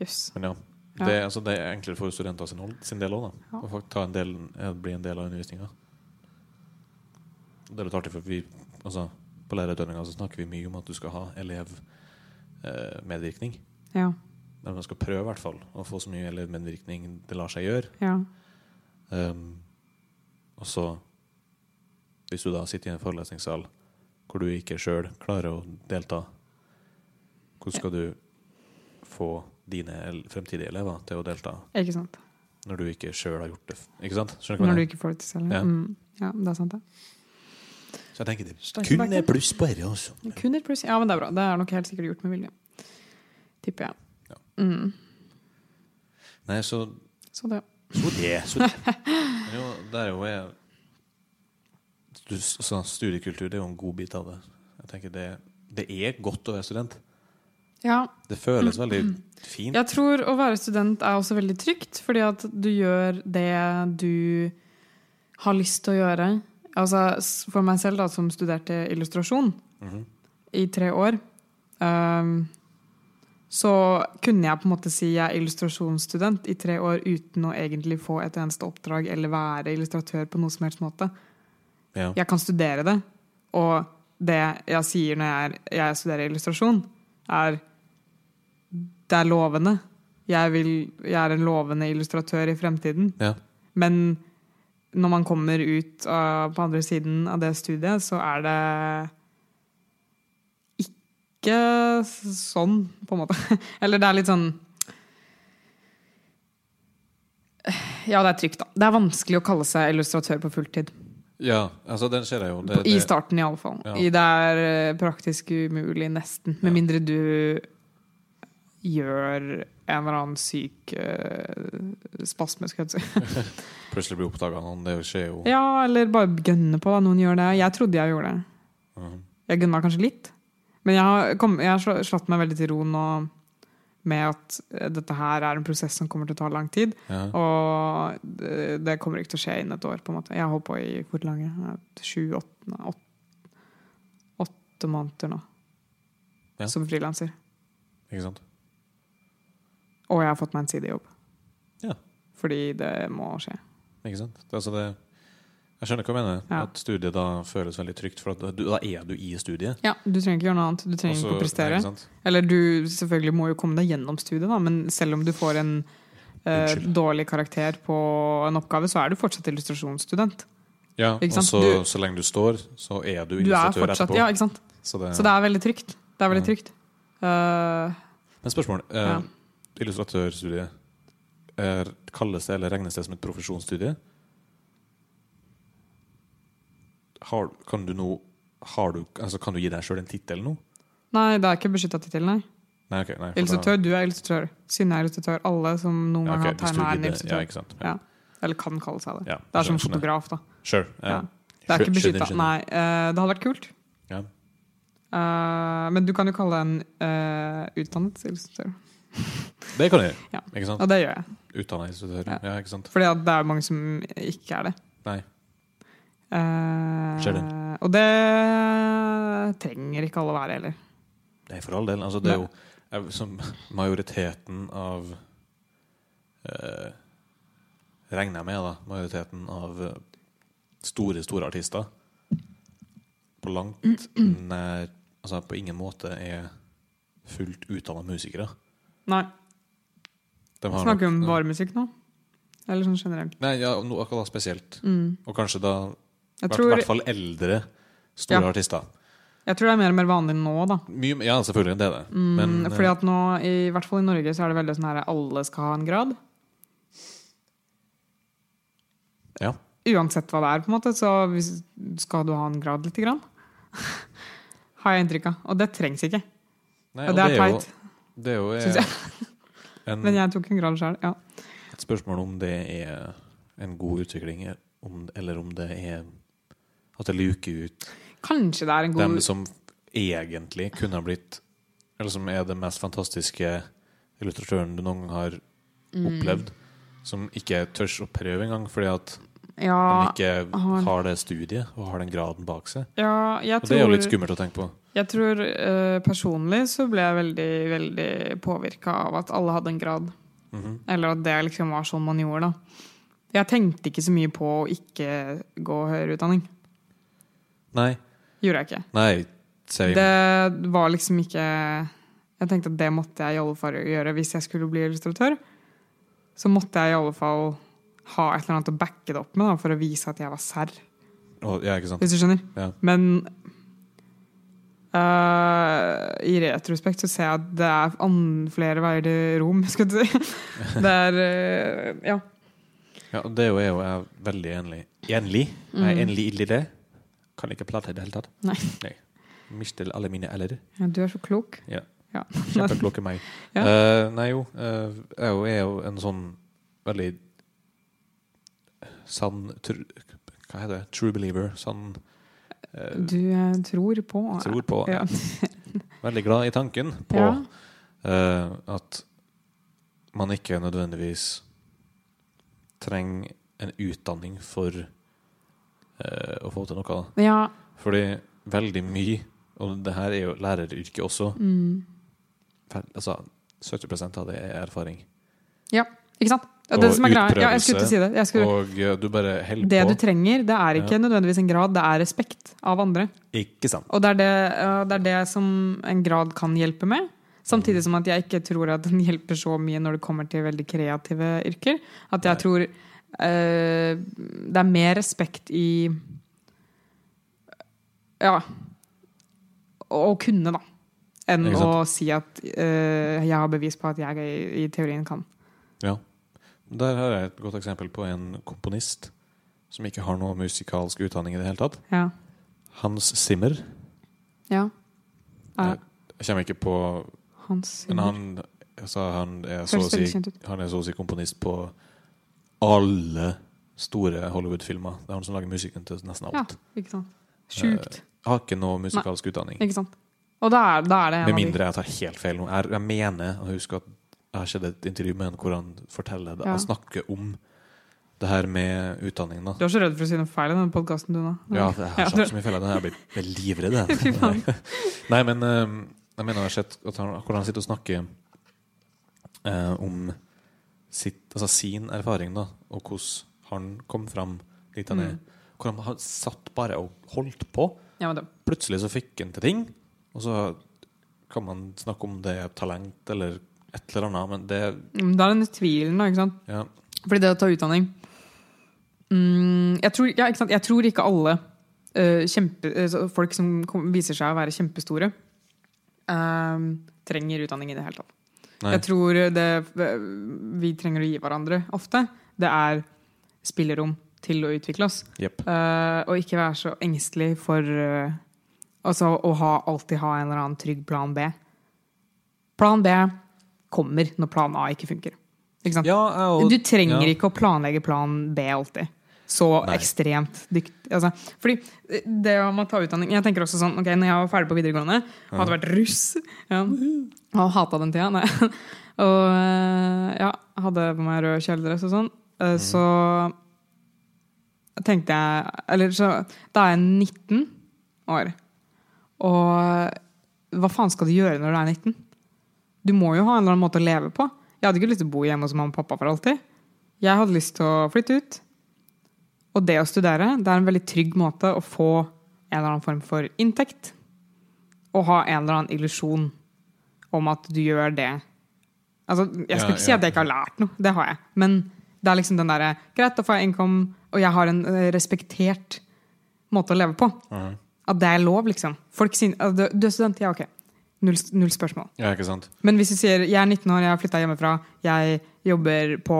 Jøss.
men ja.
Ja.
Det, altså, det er enklere for studenter sin, hold- sin del òg, da.
Ja.
Å fakt- ta en del, eh, bli en del av undervisninga. Det er litt artig, for vi altså, på lærerutdanninga så snakker vi mye om at du skal ha elevmedvirkning.
Ja.
Eller man skal prøve, i hvert fall, å få så mye elevmedvirkning det lar seg gjøre.
Ja.
Um, og så Hvis du da sitter i en forelesningssal hvor du ikke sjøl klarer å delta, hvordan skal du få dine el- fremtidige elever til å delta
Ikke sant.
når du ikke sjøl har gjort det? f- Ikke sant? Skjønner du hva
Når du
jeg mener?
ikke får det til selv.
Ja.
Mm. ja, det er sant, det.
Så jeg tenker det
Steinbakken.
Eh, kun er pluss på dette, altså.
Kun et pluss. Ja, men det er bra. Det er nok helt sikkert gjort med vilje. Tipper jeg.
Ja.
Mm.
Nei, så,
Så det.
så det. Så det. Men jo, det er jo jeg, du, så Studiekultur det er jo en god bit av det. Jeg tenker det, det er godt å være student.
Ja,
Det
Mm.
føles veldig fint.
Jeg tror å være student er også veldig trygt, fordi at du gjør det du har lyst til å gjøre. Altså, s- for meg selv, da, som studerte illustrasjon
Mhm.
i tre år, ehm, så kunne jeg på en måte si jeg er illustrasjonsstudent i tre år uten å egentlig få et eneste oppdrag eller være illustratør på noe som helst måte.
Ja.
Jeg kan studere det, og det jeg sier når jeg, er, jeg studerer illustrasjon, er det er lovende. Jeg, vil, jeg er en lovende illustratør i fremtiden.
Ja.
Men når man kommer ut av, på andre siden av det studiet, så er det ikke sånn, på en måte. Eller det er litt sånn Ja, det er trygt, da. Det er vanskelig å kalle seg illustratør på fulltid.
Ja, altså den ser jeg jo. Det,
På- I
det-
starten, iallfall.
Ja.
fall. I- Det er eh, praktisk umulig, nesten.
Ja.
Med mindre du gjør en eller annen syk eh, spasme, skal jeg si.
plutselig blir oppdaga noen. Det skjer jo.
Ja, eller bare gønne på. Da. Noen gjør det. Jeg trodde jeg gjorde det.
Mhm.
Jeg gønna kanskje litt. Men jeg har, kom, jeg har slå- slått meg veldig til ro nå med at eh, dette her er en prosess som kommer til å ta lang tid.
Ja.
Og det, det kommer ikke til å skje innen et år, på en måte. Jeg har holdt på i hvor lange? Sju, åtte, nei, åtte, åtte måneder nå.
Ja.
Som frilanser.
Ikke sant?
Og jeg har fått meg en sidejobb.
Ja.
Fordi det må skje.
Ikke sant? Det, altså det, jeg skjønner hva du mener.
Ja.
At studiet da føles veldig trygt. For at da- du, da er du i studiet.
Ja, Du trenger ikke gjøre noe annet. Du trenger
Også-
ikke å
Nei,
prestere.
ikke sant?
Eller du selvfølgelig må jo komme deg gjennom studiet, da, men selv om du får en eh,
Unnskyld.
dårlig karakter på en oppgave, så er du fortsatt illustrasjonsstudent.
Ja,
Ikke
og
sant?
så,
Du-
så lenge du står, så er du
Du er
illustratør
fortsatt,
etterpå. Mm.
ja, ikke sant?
så det,
Så det er veldig trygt. Det er veldig
Ja.
trygt. Eh,
Men spørsmål. Eh,
Ja.
Illustratørstudiet, er, kalles det eller regnes det som et profesjonsstudie? Har, kan du nå har du, altså, Kan du gi deg sjøl en tittel nå?
nei, det er ikke beskytta tittel, nei.
Nei, ok, nei, for da-
Illustratør, du er illustratør. Synne er illustratør. Alle som noen
Ja,
gang
ok,
har
hvis du
tegna, er en
gidder- Ja,
illustratør.
ikke sant.
Ja. Eller kan kalle seg det.
Ja,
Det er som
skjønner.
fotograf, da.
Sure.
Ja.
Ja.
Det er ikke
Skjønner,
beskytta.
skjønner.
Nei, eh, det hadde vært kult.
Ja.
Eh, men du kan jo kalle deg en eh, utdannet illustratør.
Det kan du gjøre.
Ja.
Ikke sant?
Og det gjør jeg.
Utdanna illustratør.
Ja.
Ja. ikke sant?
For det er jo mange som ikke er det.
Nei.
Eh,
Skjer
og det trenger ikke alle å være heller.
Nei, for all del. Altså, det er jo jeg, som majoriteten av eh, Regner jeg med, da. Majoriteten av eh, store, store artister på langt nær Altså på ingen måte er fullt utdanna musikere.
Nei,
De har
snakker vi om
nok-
bare musikk nå? Eller sånn generelt?
Nei, ja, no, akkurat da spesielt.
Mm.
Og kanskje da I
Jeg,
hvert,
tror,
hvert fall eldre, store
Ja.
artister.
jeg tror det er mer og mer vanlig nå, da.
Mye, ja, selvfølgelig. Det er det.
Mm,
Men eh,
fordi at nå, i hvert fall i Norge, så er det veldig sånn her alle skal ha en grad.
Ja.
Uansett hva det er, på en måte, så hvis, skal du ha en grad lite grann. Har jeg inntrykk av. Og det trengs ikke.
nei,
Og
og
det er
jo- mm.
teit.
Det er jo eh,
Synes
en,
Men jeg tok en grad sjøl, ja.
et spørsmål om det er en god utvikling, om, eller om det er at det luker ut
Kanskje det er en
dem
god
som egentlig kunne ha blitt Eller som er den mest fantastiske illustratøren du noen gang har
mm.
opplevd. Som ikke tørs å prøve engang, fordi at de
Ja,
ikke
har-
har det studiet og har den graden bak seg.
ja jeg
Og
tror
det er jo litt skummelt å tenke på.
Jeg tror eh, personlig så ble jeg veldig, veldig påvirka av at alle hadde en grad.
Mhm.
Eller at det liksom var sånn man gjorde, da. Jeg tenkte ikke så mye på å ikke gå høyere utdanning.
Nei.
Gjorde jeg ikke.
Nei, same.
Det var liksom ikke Jeg tenkte at det måtte jeg i alle fall gjøre hvis jeg skulle bli illustratør. Så måtte jeg i alle fall ha et eller annet å backe det opp med da, for å vise at jeg var serr.
Å, ja, ikke sant.
Hvis du skjønner?
Ja.
Men øh, i retrospekt så ser jeg at det er an- flere veier til Rom, skal du si. Det er øh, Ja.
Ja, og det er jo jeg, og jeg er veldig enig Enlig? Jeg er enlig i det. Kan ikke prate i det hele tatt.
Mm. Nei.
Mister alle mine l-er.
ja. Du er så klok.
Ja.
Ja.
Kjempeklokke meg.
Ja.
Eh, nei jo, eh, jeg er jo- er jo en sånn veldig sann tr Hva heter det? True believer. Sann eh,
Du eh, tror på
Tror på.
Ja.
Veldig glad i tanken på
Ja.
eh, at man ikke nødvendigvis trenger en utdanning for eh, å få til noe. Da.
ja.
Fordi veldig mye, og det her er jo læreryrket også,
Mm.
vel, altså 70 av det er erfaring.
Ikke sant? Ja, det
Og
som er greia. Ja, jeg
utprøvelse,
skulle til å si det. Jeg skulle,
Og eh, du bare holder
det du
på.
trenger, det er ikke
Ja.
nødvendigvis en grad, det er respekt av andre.
Ikke sant.
Og det er det, øh, det er det som en grad kan hjelpe med. Samtidig som at jeg ikke tror at den hjelper så mye når det kommer til veldig kreative yrker. At jeg
Nei.
tror øh, det er mer respekt i Ja. Å å kunne, da. Enn
Ikke sant.
å si at øh, jeg har bevis på at jeg i, i teorien kan.
Ja. Der har jeg et godt eksempel på en komponist som ikke har noe musikalsk utdanning i det hele tatt.
Ja.
Hans Zimmer.
ja. Ja,
Jeg jeg kommer ikke på
Hans
Men
Zimmer.
han, altså, han, er så å
Høres
si,
veldig kjent ut.
han er så å si komponist på alle store Hollywood-filmer. Det er han som lager musikken til nesten
Ja,
alt.
ikke sant. Sjukt.
Har ikke noe musikalsk utdanning.
Ikke sant. Og da er, da er
Eh,
det en
Med
av de-
mindre jeg tar helt feil nå. Jeg, jeg mener å huske at jeg har sett et intervju med han hvor han forteller det.
Ja.
Han snakker om det her med utdanningen. da.
Du er så redd for å si noe feil i denne podkasten du nå.
Ja, jeg har sagt så mye feil. Jeg blir jeg blir livredd. jeg.
Fy faen.
Nei, men eh, jeg mener jeg har sett at han, hvordan han sitter og snakker eh, om sitt, altså sin erfaring, da, og hvordan han kom fram dit han
Mm.
er. Hvor han, han satt bare og holdt på.
Ja, men det,
Plutselig så fikk han til ting, og så kan man snakke om det er talent eller et eller annet, men det
Mm, Da er den tvilen, da. ikke sant?
Ja.
Fordi det å ta utdanning mm, jeg, tror, ja, ikke sant? jeg tror ikke alle eh, kjempe, eh, så folk som kom, viser seg å være kjempestore, eh, trenger utdanning i det hele tatt.
Nei.
Jeg tror det eh, vi trenger å gi hverandre ofte, det er spillerom til å utvikle oss.
Jepp.
Eh, og ikke være så engstelig for eh, altså, å ha, alltid ha en eller annen trygg plan B. Plan B kommer når plan A ikke funker. Ikke sant?
Ja, jeg og-
du trenger
ja.
ikke å planlegge plan B alltid. Så
Nei.
ekstremt dyktig. Altså, fordi det om å ta utdanning Jeg tenker også sånn, ok, når jeg var ferdig på videregående, hadde vært russ ja, og hata den tida nei. Og eh, ja, hadde på meg rød kjeledress og sånn,
Mm.
eh, så tenkte jeg Eller så Da er jeg 19 år. Og hva faen skal du gjøre når du er 19? Du må jo ha en eller annen måte å leve på. Jeg hadde ikke lyst til å bo hjemme hos mamma og pappa for alltid. Jeg hadde lyst til å flytte ut. Og det å studere, det er en veldig trygg måte å få en eller annen form for inntekt. Og ha en eller annen illusjon om at du gjør det. Altså, jeg skal
Ja,
ikke si
ja.
at jeg ikke har lært noe, det har jeg. Men det er liksom den derre Greit, da får jeg innkom, og jeg har en eh, respektert måte å leve på.
Mhm.
At det er lov, liksom. Folk sier «Ah, du, du er student, ja, ok. Null, null spørsmål.
Ja, ikke sant?
Men hvis du sier jeg er 19 år, jeg har flytta hjemmefra, jeg jobber på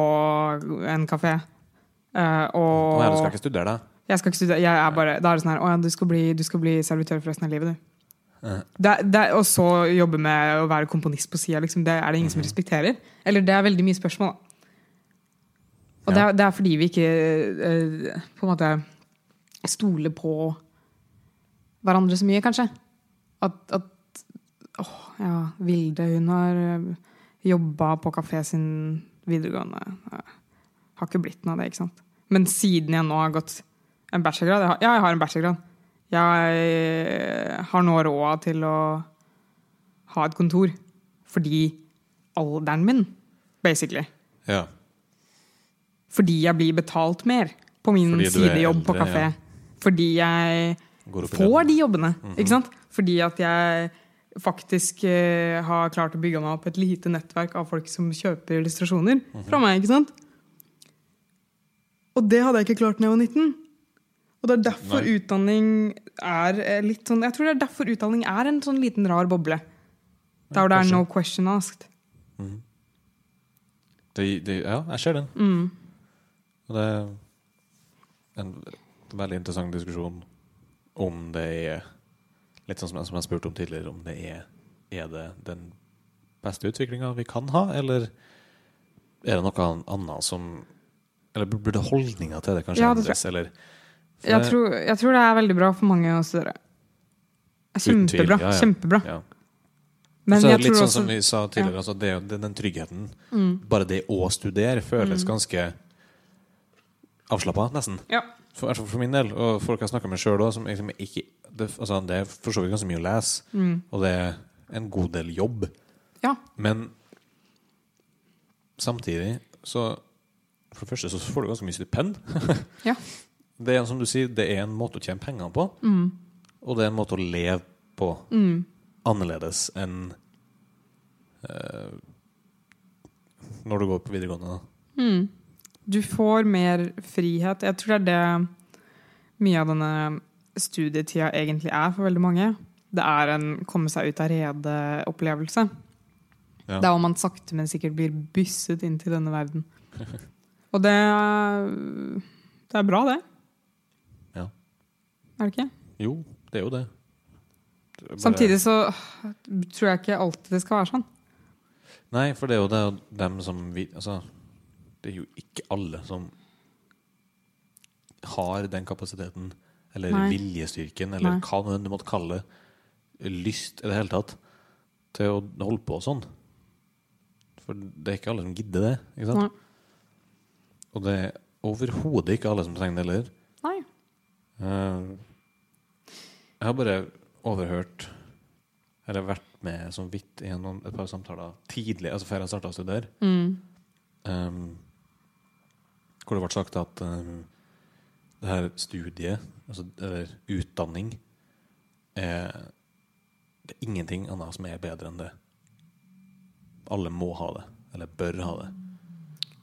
en kafé eh,
Å
og
ja, du skal ikke studere deg?
Jeg skal ikke studere. Jeg er bare, da er det sånn her Å ja, du skal bli, du skal bli servitør for resten av livet, du.
Eh.
Det, er- det, er- og så jobbe med å være komponist på sida, liksom. Det er det ingen som respekterer. Eller det er veldig mye spørsmål. Og det,
Ja.
er, det er fordi vi ikke eh, på en måte stoler på hverandre så mye, kanskje. At, at åh, ja, Vilde, hun har jobba på kafé siden videregående. Ja. Har ikke blitt noe av det, ikke sant. Men siden jeg nå har gått en bachelorgrad jeg har, Ja, jeg har en bachelorgrad. Jeg eh, har nå råd til å ha et kontor fordi alderen min, basically.
Ja.
Fordi jeg blir betalt mer på min
Fordi du er
sidejobb på
eldre,
kafé.
ja.
Fordi jeg
Går opp i
får
bredden.
de jobbene.
Mhm.
ikke sant? Fordi at jeg faktisk eh, har klart å bygge meg opp et lite nettverk av folk som kjøper illustrasjoner
Mhm.
fra meg. ikke sant? Og det hadde jeg ikke klart da jeg var 19. Og det er derfor
Nei.
utdanning er eh, litt sånn Jeg tror det er derfor utdanning er en sånn liten rar boble. Der
Ja,
hvor det er
kanskje.
no question asked.
De, de, ja, jeg ser den.
Mm.
Og det er en veldig interessant diskusjon om det er Litt sånn som jeg, som jeg spurte om tidligere, om det er Er det den beste utviklinga vi kan ha, eller er det noe annet som Eller burde holdninga til det kanskje
Ja, det tror jeg.
endres, eller For
Jeg
det-
tror, jeg tror det er veldig bra for mange å studere.
Uten tvil,
Kjempebra.
ja, ja.
Kjempebra.
ja.
Men
så er
jeg
det litt
tror
sånn
også Mm.
som vi sa tidligere, altså det, er jo- det, den tryggheten Bare det å studere føles ganske avslappa, nesten.
Ja.
For, altså for min del, og folk jeg snakker med sjøl òg, som liksom ikke det, altså det er for så vidt ganske mye å lese,
Mm.
og det er en god del jobb,
ja.
men samtidig så For det første så får du ganske mye stipend.
Ja.
Det er som du sier, det er en måte å tjene penger på,
Mm.
og det er en måte å leve på annerledes enn eh, når du går på videregående.
Du får mer frihet. Jeg tror det er det mye av denne studietida egentlig er for veldig mange. Det er en komme seg ut av redet-opplevelse.
Ja.
Det er om man sakte, men sikkert blir bysset inn til denne verden. Og det er, det er bra, det.
Ja.
Er det ikke?
Jo, det er jo det. Det er bare-
Samtidig så øh, tror jeg ikke alltid det skal være sånn.
Nei, for det er jo det, er dem som vi, altså, Det er jo ikke alle som har den kapasiteten, eller
Nei.
viljestyrken, eller
Nei.
hva nå enn du måtte kalle det, lyst i det hele tatt, til å holde på sånn. For det er ikke alle som gidder det. ikke sant?
Nei.
Og det er overhodet ikke alle som trenger det heller.
Nei.
Eh, Jeg har bare overhørt Eller vært med så vidt i noen, et par samtaler tidlig, altså før jeg starta å studere,
Mm.
eh, hvor det ble sagt at eh, det her studiet, altså, eller utdanning, er, det er ingenting annet som er bedre enn det. alle må ha det, eller bør ha det.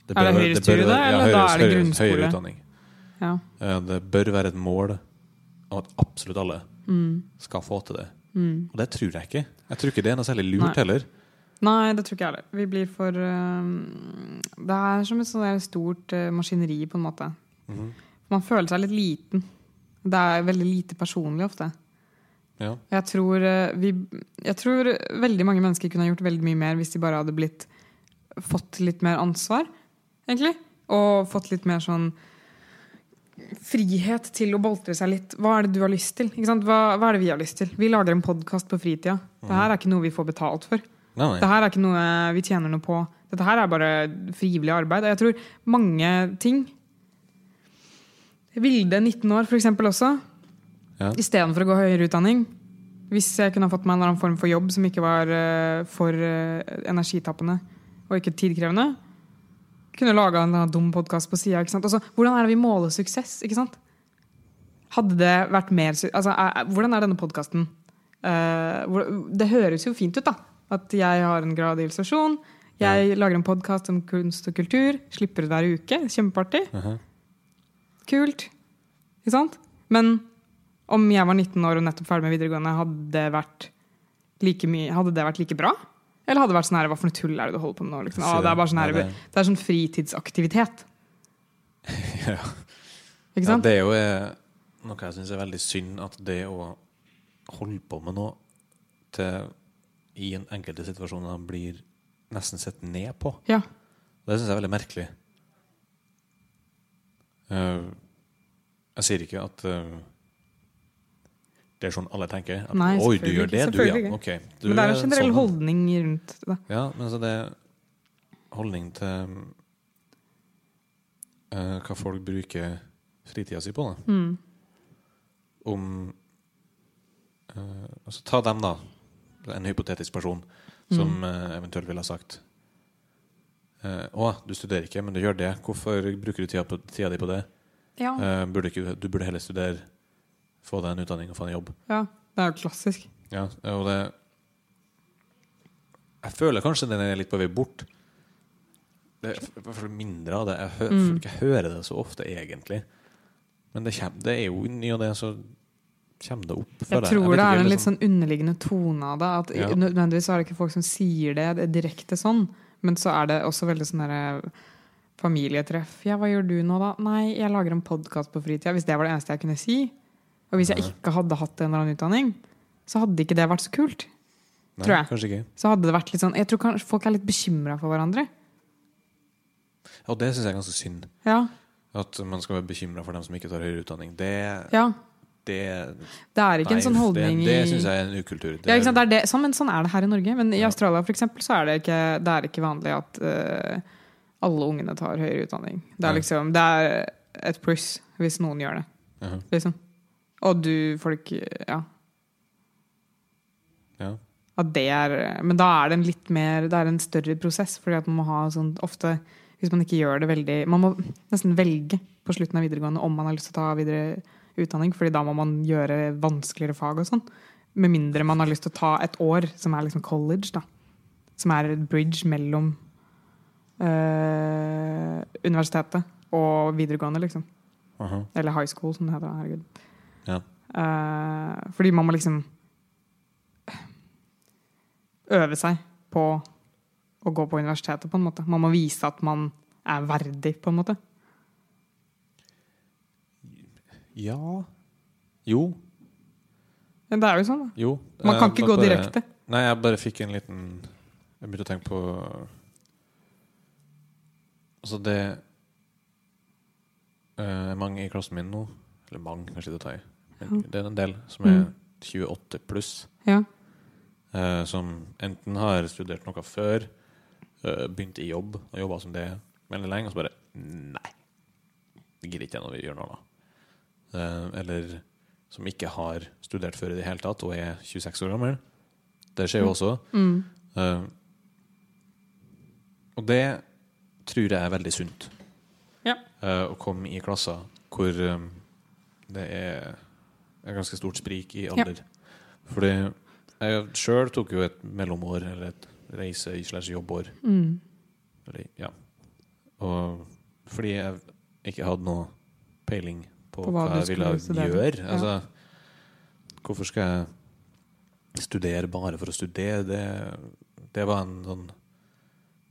det
Er det høyere studie,
være-
eller da er det
høyere-
grunnskole?
Høyere utdanning.
Ja.
Eh, Det bør være et mål at absolutt alle
Mm.
skal få til det.
Mm.
Og det tror jeg ikke. Jeg tror ikke det er noe særlig
Nei.
lurt heller.
Nei, det tror ikke jeg heller. Vi blir for øhm, Det er som et sånt der stort øh, maskineri, på en måte.
Mhm.
Man føler seg litt liten. Det er veldig lite personlig ofte.
Ja.
Jeg tror, øh, vi, jeg tror veldig mange mennesker kunne ha gjort veldig mye mer hvis de bare hadde blitt fått litt mer ansvar, egentlig. Og fått litt mer sånn frihet til å boltre seg litt. Hva er det du har lyst til? Ikke sant? Hva, hva er det vi har lyst til? Vi lager en podkast på fritida. Det her er ikke noe vi får betalt for.
Nei,
Det
nei.
her er ikke noe vi tjener noe på. Dette her er bare frivillig arbeid. Og jeg tror mange ting Vilde, 19 år, for eksempel også.
Ja.
Istedenfor å gå høyere utdanning. Hvis jeg kunne ha fått meg en eller annen form for jobb som ikke var eh, for eh, energitappende og ikke tidkrevende. Kunne laga en eller annen dum podkast på sida. Altså, Hvordan er det vi måler suksess? ikke sant? Hadde det vært mer su- altså, er, er- Hvordan er denne podkasten? Eh, det høres jo fint ut, da. At jeg har en grad i illustrasjon. Jeg lager en podkast om kunst og kultur. Slipper ut hver uke. Kjempeartig.
Mhm.
Kult. Ikke sant? Men om jeg var 19 år og nettopp ferdig med videregående, hadde det vært like, mye, hadde det vært like bra? Eller hadde det vært sånn her, hva for noe tull er det du holder på med nå? Liksom? Ah, det er bare sånn her,
Nei, det-
det er sånn fritidsaktivitet.
Ja. Ja,
Ikke sant?
det er jo eh, noe jeg syns er veldig synd, at det å holde på med noe til i en enkelte situasjoner blir nesten sett ned på.
Ja.
Det syns jeg er veldig merkelig. Eh, jeg sier ikke at eh, det er sånn alle tenker. At,
Nei,
Oi, du
selvfølgelig
gjør det, du,
ikke.
ja.
Selvfølgelig
Ok. Du
Men det er en generell
sånn.
holdning rundt det.
Ja, men så det er holdning til eh, hva folk bruker fritida si på, da.
Mm.
Om eh, altså, Ta dem, da. En hypotetisk person som eh, eventuelt ville ha sagt eh, Å, du studerer ikke, men du gjør det. Hvorfor bruker du tida, på, tida di på det?
Ja.
Eh, burde ikke, du burde heller studere, få deg en utdanning og få en jobb.
ja. Det er jo klassisk.
Ja, og det Jeg føler kanskje den er litt på vei bort. Det er i hvert fall mindre av det. Jeg, hø,
Mm.
føler ikke jeg hører det så ofte, egentlig. Men det, kjem, det er jo i ny og ne, så kommer det opp.
Jeg
føler
tror
vet
det
ikke,
er en litt
liksom-
sånn underliggende tone av det. At
Ja.
Nødvendigvis er det ikke folk som sier det, det er direkte sånn, men så er det også veldig sånn derre familietreff. Ja, hva gjør du nå, da? Nei, jeg lager en podkast på fritida. Hvis det var det eneste jeg kunne si. Og hvis jeg
Mhm.
ikke hadde hatt en eller annen utdanning, så hadde ikke det vært så kult.
Nei,
sånn- tror jeg.
Kanskje ikke.
Så hadde det vært litt sånn Jeg tror kanskje folk er litt bekymra for hverandre.
Og det syns jeg er ganske synd.
Ja.
At man skal være bekymra for dem som ikke tar høyere utdanning. Det,
ja.
det
Det er ikke
nei,
en sånn
uff,
holdning
Det, det
i-
syns jeg er en ukultur. Det
Ja, ikke sant?
er-
Det er det, sånn, men sånn er det her i Norge. Men i
Ja.
Australia for eksempel, så er det ikke, det er ikke vanlig at eh, alle ungene tar høyere utdanning. Det
Nei.
er, liksom, det er et pluss hvis noen gjør det.
Ja,
Liksom. Og du, folk Ja.
ja.
At det er, men da er det en litt mer Det er en større prosess, fordi at man må ha sånn ofte Hvis man ikke gjør det veldig Man må nesten velge på slutten av videregående om man har lyst til å ta videre utdanning, fordi da må man gjøre vanskeligere fag og sånn. Med mindre man har lyst til å ta et år som er liksom college, da. Som er et bridge mellom eh, universitetet og videregående, liksom.
aha.
Eller high school, som det heter. Herregud.
Ja.
Eh, fordi man må liksom øve seg på å gå på universitetet, på en måte. Man må vise at man er verdig, på en måte.
ja. Jo.
Men Det er jo sånn, da.
Jo.
Man kan
Eh, da
ikke gå
bare-
direkte.
Nei, jeg bare fikk en liten Jeg begynte å tenke på Altså, det eh, er mange i klassen min nå Eller mange, kanskje det er å ta i. Men
Ja. Mm.
det er en del som er 28 pluss,
Ja.
eh, som enten har studert noe før, eh, begynt i jobb og jobba som det veldig lenge, og så bare Nei. Det gidder ikke jeg når vi gjør noe annet. Eh, eller som ikke har studert før i det hele tatt, og er 26 år gammel. Det skjer jo også.
Mm.
Eh, og det tror jeg er veldig sunt.
Ja.
Eh, å komme i klasser hvor eh, det er et ganske stort sprik i alder. Fordi jeg sjøl tok jo et mellomår, eller et reise i slags jobbår.
Mm.
Eller, ja. Og fordi jeg ikke hadde noe peiling på,
På hva
hva,
du
jeg ville
skulle studere.
gjøre.
Ja.
Altså, hvorfor skal jeg studere bare for å studere? Det, det var en sånn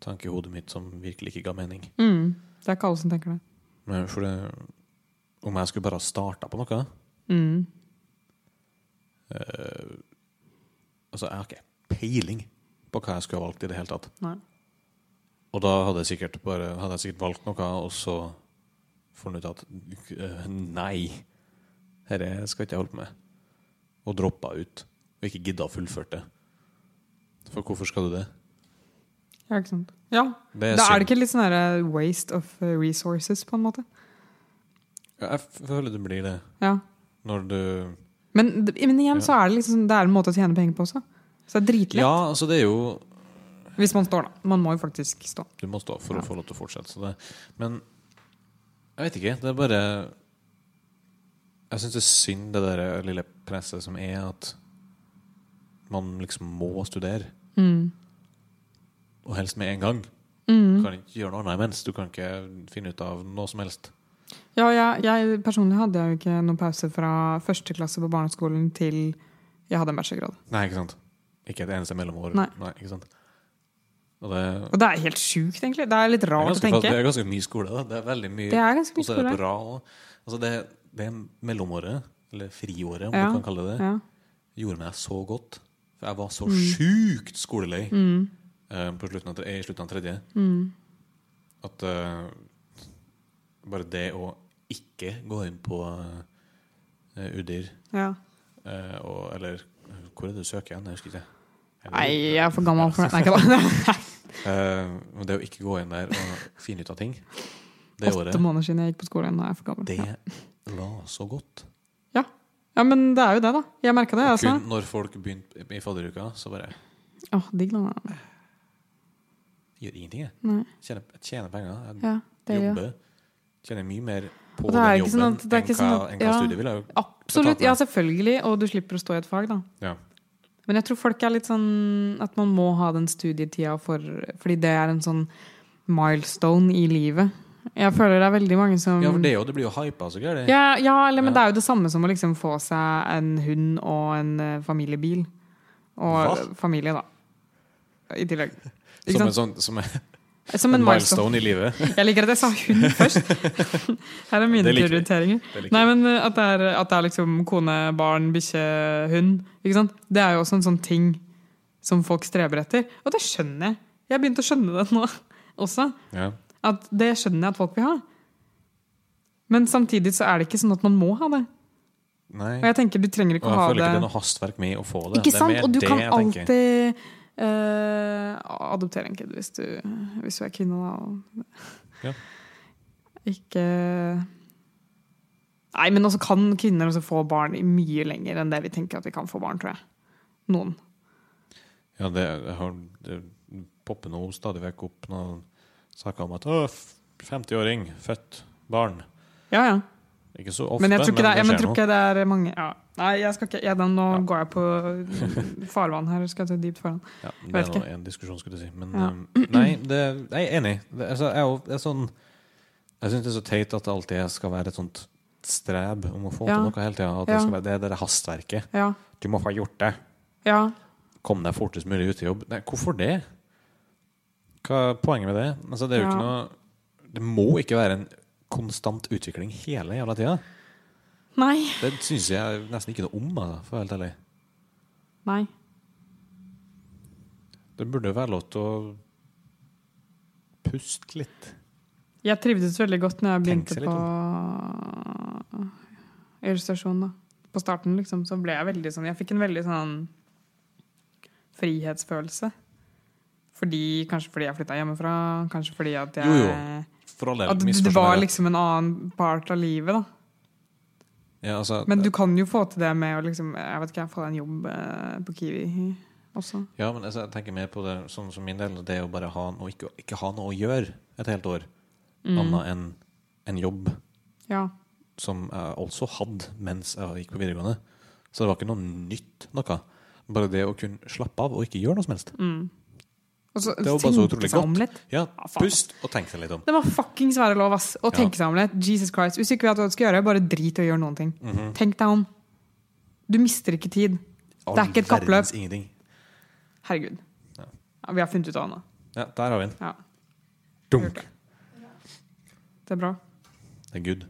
tanke i hodet mitt som virkelig ikke ga mening.
Mm. Det er ikke alle som tenker det.
Men for det, om jeg skulle bare ha starta på noe
Mm.
eh, Altså, jeg har ikke peiling på hva jeg skulle ha valgt i det hele tatt.
Nei.
Og da hadde jeg sikkert, bare, hadde jeg sikkert valgt noe, og så funnet ut at øh, nei, dette skal ikke jeg holde på med. Og droppa ut. Og ikke gidda å fullføre det. For hvorfor skal du det?
Ja, ikke sant. Ja,
Det
da er
synd.
det ikke litt sånn der waste of eh, resources, på en måte.
Ja, Jeg f- føler det blir det.
Ja.
Når du
Men, men
Ja.
igjen så er det liksom Det er en måte å tjene penger på også. Så det er dritlett.
Ja, altså, det er jo
Hvis man står, da. Man må jo faktisk stå.
Du må stå for
Ja.
å få lov til å fortsette. Så det. Men jeg vet ikke. Det er bare Jeg syns det er synd, det der lille presset som er at man liksom må studere.
Mm.
Og helst med en gang. Du
Mm.
kan ikke gjøre noe annet imens. Du kan ikke finne ut av noe som helst.
Ja, jeg, jeg personlig hadde jeg jo ikke noen pause fra første klasse på barneskolen til jeg hadde en bachelorgrad.
Nei, ikke sant? Ikke et eneste mellomår.
Nei.
ikke sant? Og det,
Og det er helt sjukt, egentlig. Det er litt
det, er
rart å
ganske, fast-
tenke.
det er ganske mye skole. Da. Det er veldig mye.
Det er ganske mye
og så er det på
skole.
rad også. Altså det, det mellomåret, eller friåret, om
Ja.
du kan kalle det det,
Ja.
gjorde meg så godt. For jeg var så
Mm.
sjukt skolelei eh, på slutten av, tre- i slutten av tredje
mm.
at eh, bare det å ikke gå inn på eh, UDIR
Ja.
Eh, og, eller hvor er det du søker igjen? Jeg husker ikke. Eller-
Nei, jeg er for gammel for det. Nei, ikke da.
Eh, og det å ikke gå inn der og finne ut av ting det året,
Åtte måneder siden jeg gikk på skolen. Nå er jeg for gammel.
det var så godt.
Ja, men det er jo det, da. Jeg merka det. Altså.
Kun når folk begynte i fadderuka, så bare
Åh, digg da. da.
jeg gjør ingenting, jeg.
Nei.
Tjener, jeg tjener penger. Jeg
Ja, det er jo
jobber. Tjener mye mer på
Og det
den
er
jobben
ikke sånn at- det er
enn
ikke
hva,
sånn at-
enn hva
ja.
studiet ville. jo-
Absolutt. Ja, selvfølgelig. Og du slipper å stå i et fag, da.
Ja.
Men jeg tror folk er litt sånn at man må ha den studietida for Fordi det er en sånn milestone i livet. Jeg føler det er veldig mange som
ja, for det, er jo- altså, det blir jo hypa så gærent.
ja, ja, eller, men
Ja.
det er jo det samme som å liksom få seg en hund og en eh, familiebil. Og
Hva?
familie, da. I tillegg. Ikke
Som en
sant?
sånn som en
Som en
milestone
milestone.
i livet.
Jeg liker at jeg sa hund først. Her er mine
Det liker vi.
prioriteringer.
Det liker
Nei,
jeg.
men eh, at det er, at det er liksom kone, barn, bikkje, hund. Ikke sant? Det er jo også en sånn ting som folk streber etter. Og det skjønner jeg. Jeg har begynt å skjønne det nå også.
ja.
At det skjønner jeg at folk vil ha. Men samtidig så er det ikke sånn at man må ha det.
Nei.
Og jeg tenker du trenger ikke
Og
å
jeg
ha
føler
det
ikke det er noe hastverk med å få det.
Ikke
det er
sant?
mer
Og du
det
kan
jeg tenker.
alltid eh, adoptere en kid hvis du, hvis du er kvinne, da. Og
Ja.
Ikke Nei, men også kan kvinner også få barn i mye lenger enn det vi tenker at vi kan få barn, tror jeg. Noen.
Ja, det, jeg har, det popper nå stadig vekk opp noen saker om at «Å, f- 50-åring, født barn.
Ja, ja.
Ikke så ofte,
Men jeg tror ikke det, er- ja, men
skjer
tror ikke det er mange ja. Nei, jeg skal ikke ja, da, Nå går jeg på farvann her. Skal jeg ta dypt farvann?
nå. Ja, det
vet
er
ikke.
nå en diskusjon, skulle du si. Men
Ja.
um, nei, det, jeg er enig. Det, altså, jeg, er jo- det er sånn, jeg syns det er så teit at det alltid skal være et sånt streb om å få
Ja.
til noe hele tida. At det
Ja.
skal være det, det er hastverket.
Ja.
Du må få gjort det.
ja.
Kom deg fortest mulig ut i jobb. Nei, hvorfor det? Hva er poenget med det? Altså, det er jo
Ja.
ikke noe Det må ikke være en konstant utvikling hele jævla tida.
Nei.
Det syns jeg nesten ikke noe om, altså, for å være helt ærlig.
Nei.
Det burde være lov til å puste litt.
Jeg trivdes veldig godt når
Tenk
jeg begynte
seg litt
på illustrasjon. da. På starten liksom, så ble jeg veldig sånn Jeg fikk en veldig sånn frihetsfølelse. Fordi, Kanskje fordi jeg flytta hjemmefra, kanskje fordi at jeg
Jo, jo. For all del.
At det
misforstå
var
meg rett.
liksom en annen part av livet, da.
ja, altså,
liksom- Men du kan jo få til det med å liksom Jeg vet ikke, jeg får en jobb eh, på Kiwi også.
ja, men altså, jeg tenker mer på det sånn som min del. Det å bare ha noe, ikke, ikke ha noe å gjøre et helt år,
Mm.
annet enn en jobb.
Ja.
som jeg også hadde mens jeg gikk på videregående. Så det var ikke noe nytt noe. Bare det å kunne slappe av og ikke gjøre noe som helst.
Mm. Og så
Det var bare så
tenke
utrolig
seg om
godt.
litt.
Ja,
Ja, faen.
pust og tenk deg litt om.
Det var fuckings være lov, ass. Å
Ja.
tenke seg om litt. Jesus Christ. Hvis du ikke vet hva du skal gjøre, bare drit i å gjøre noen ting.
Mhm.
Tenk deg om. Du mister ikke tid.
All
Det er ikke et kappløp.
verdens Ingenting.
Herregud.
Ja.
Ja, vi har funnet ut av det nå.
Ja, der har vi den.
Ja, gjort
Dunk.
det. det er bra.
Det er good.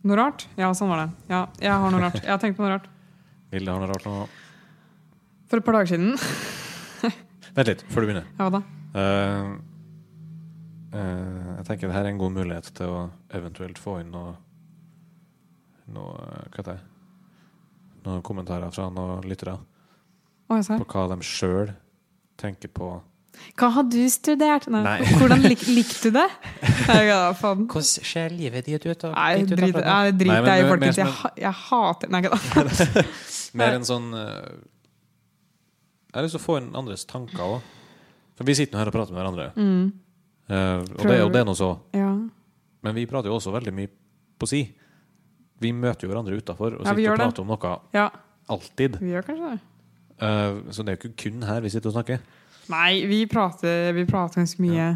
Noe rart? Ja, sånn var det. Ja, jeg har noe rart. Jeg har tenkt på noe rart.
Vilde har noe rart nå.
For et par dager siden.
Vent litt, før du begynner.
Ja da.
Eh, eh, jeg tenker det her er en god mulighet til å eventuelt få inn noe, noe eh, Hva heter det? Noen kommentarer fra noen lyttere
Å, jeg ser.
på hva de sjøl tenker på.
Hva har du studert? Nei.
Nei.
Hvordan lik, likte du det? Nei, ja, faen.
Hvordan ser livet ditt ut?
Nei, drit nei, drit
Nei, men
deg
mer-
i
mer
folkens.
som
Jeg,
en-
ha- jeg hater Nei, ikke da.
Mer en sånn eh, Jeg har lyst til å få inn andres tanker òg. For vi sitter nå her og prater med hverandre. Eh, og, det, og det er nå så.
Mm. Ja.
Men vi prater jo også veldig mye på si. Vi møter jo hverandre utafor og
Ja,
sitter
vi
og
gjør det.
prater om noe
ja,
alltid.
vi gjør kanskje det.
Eh, så det er jo ikke kun her vi sitter og snakker.
Nei, vi prater, vi prater ganske mye.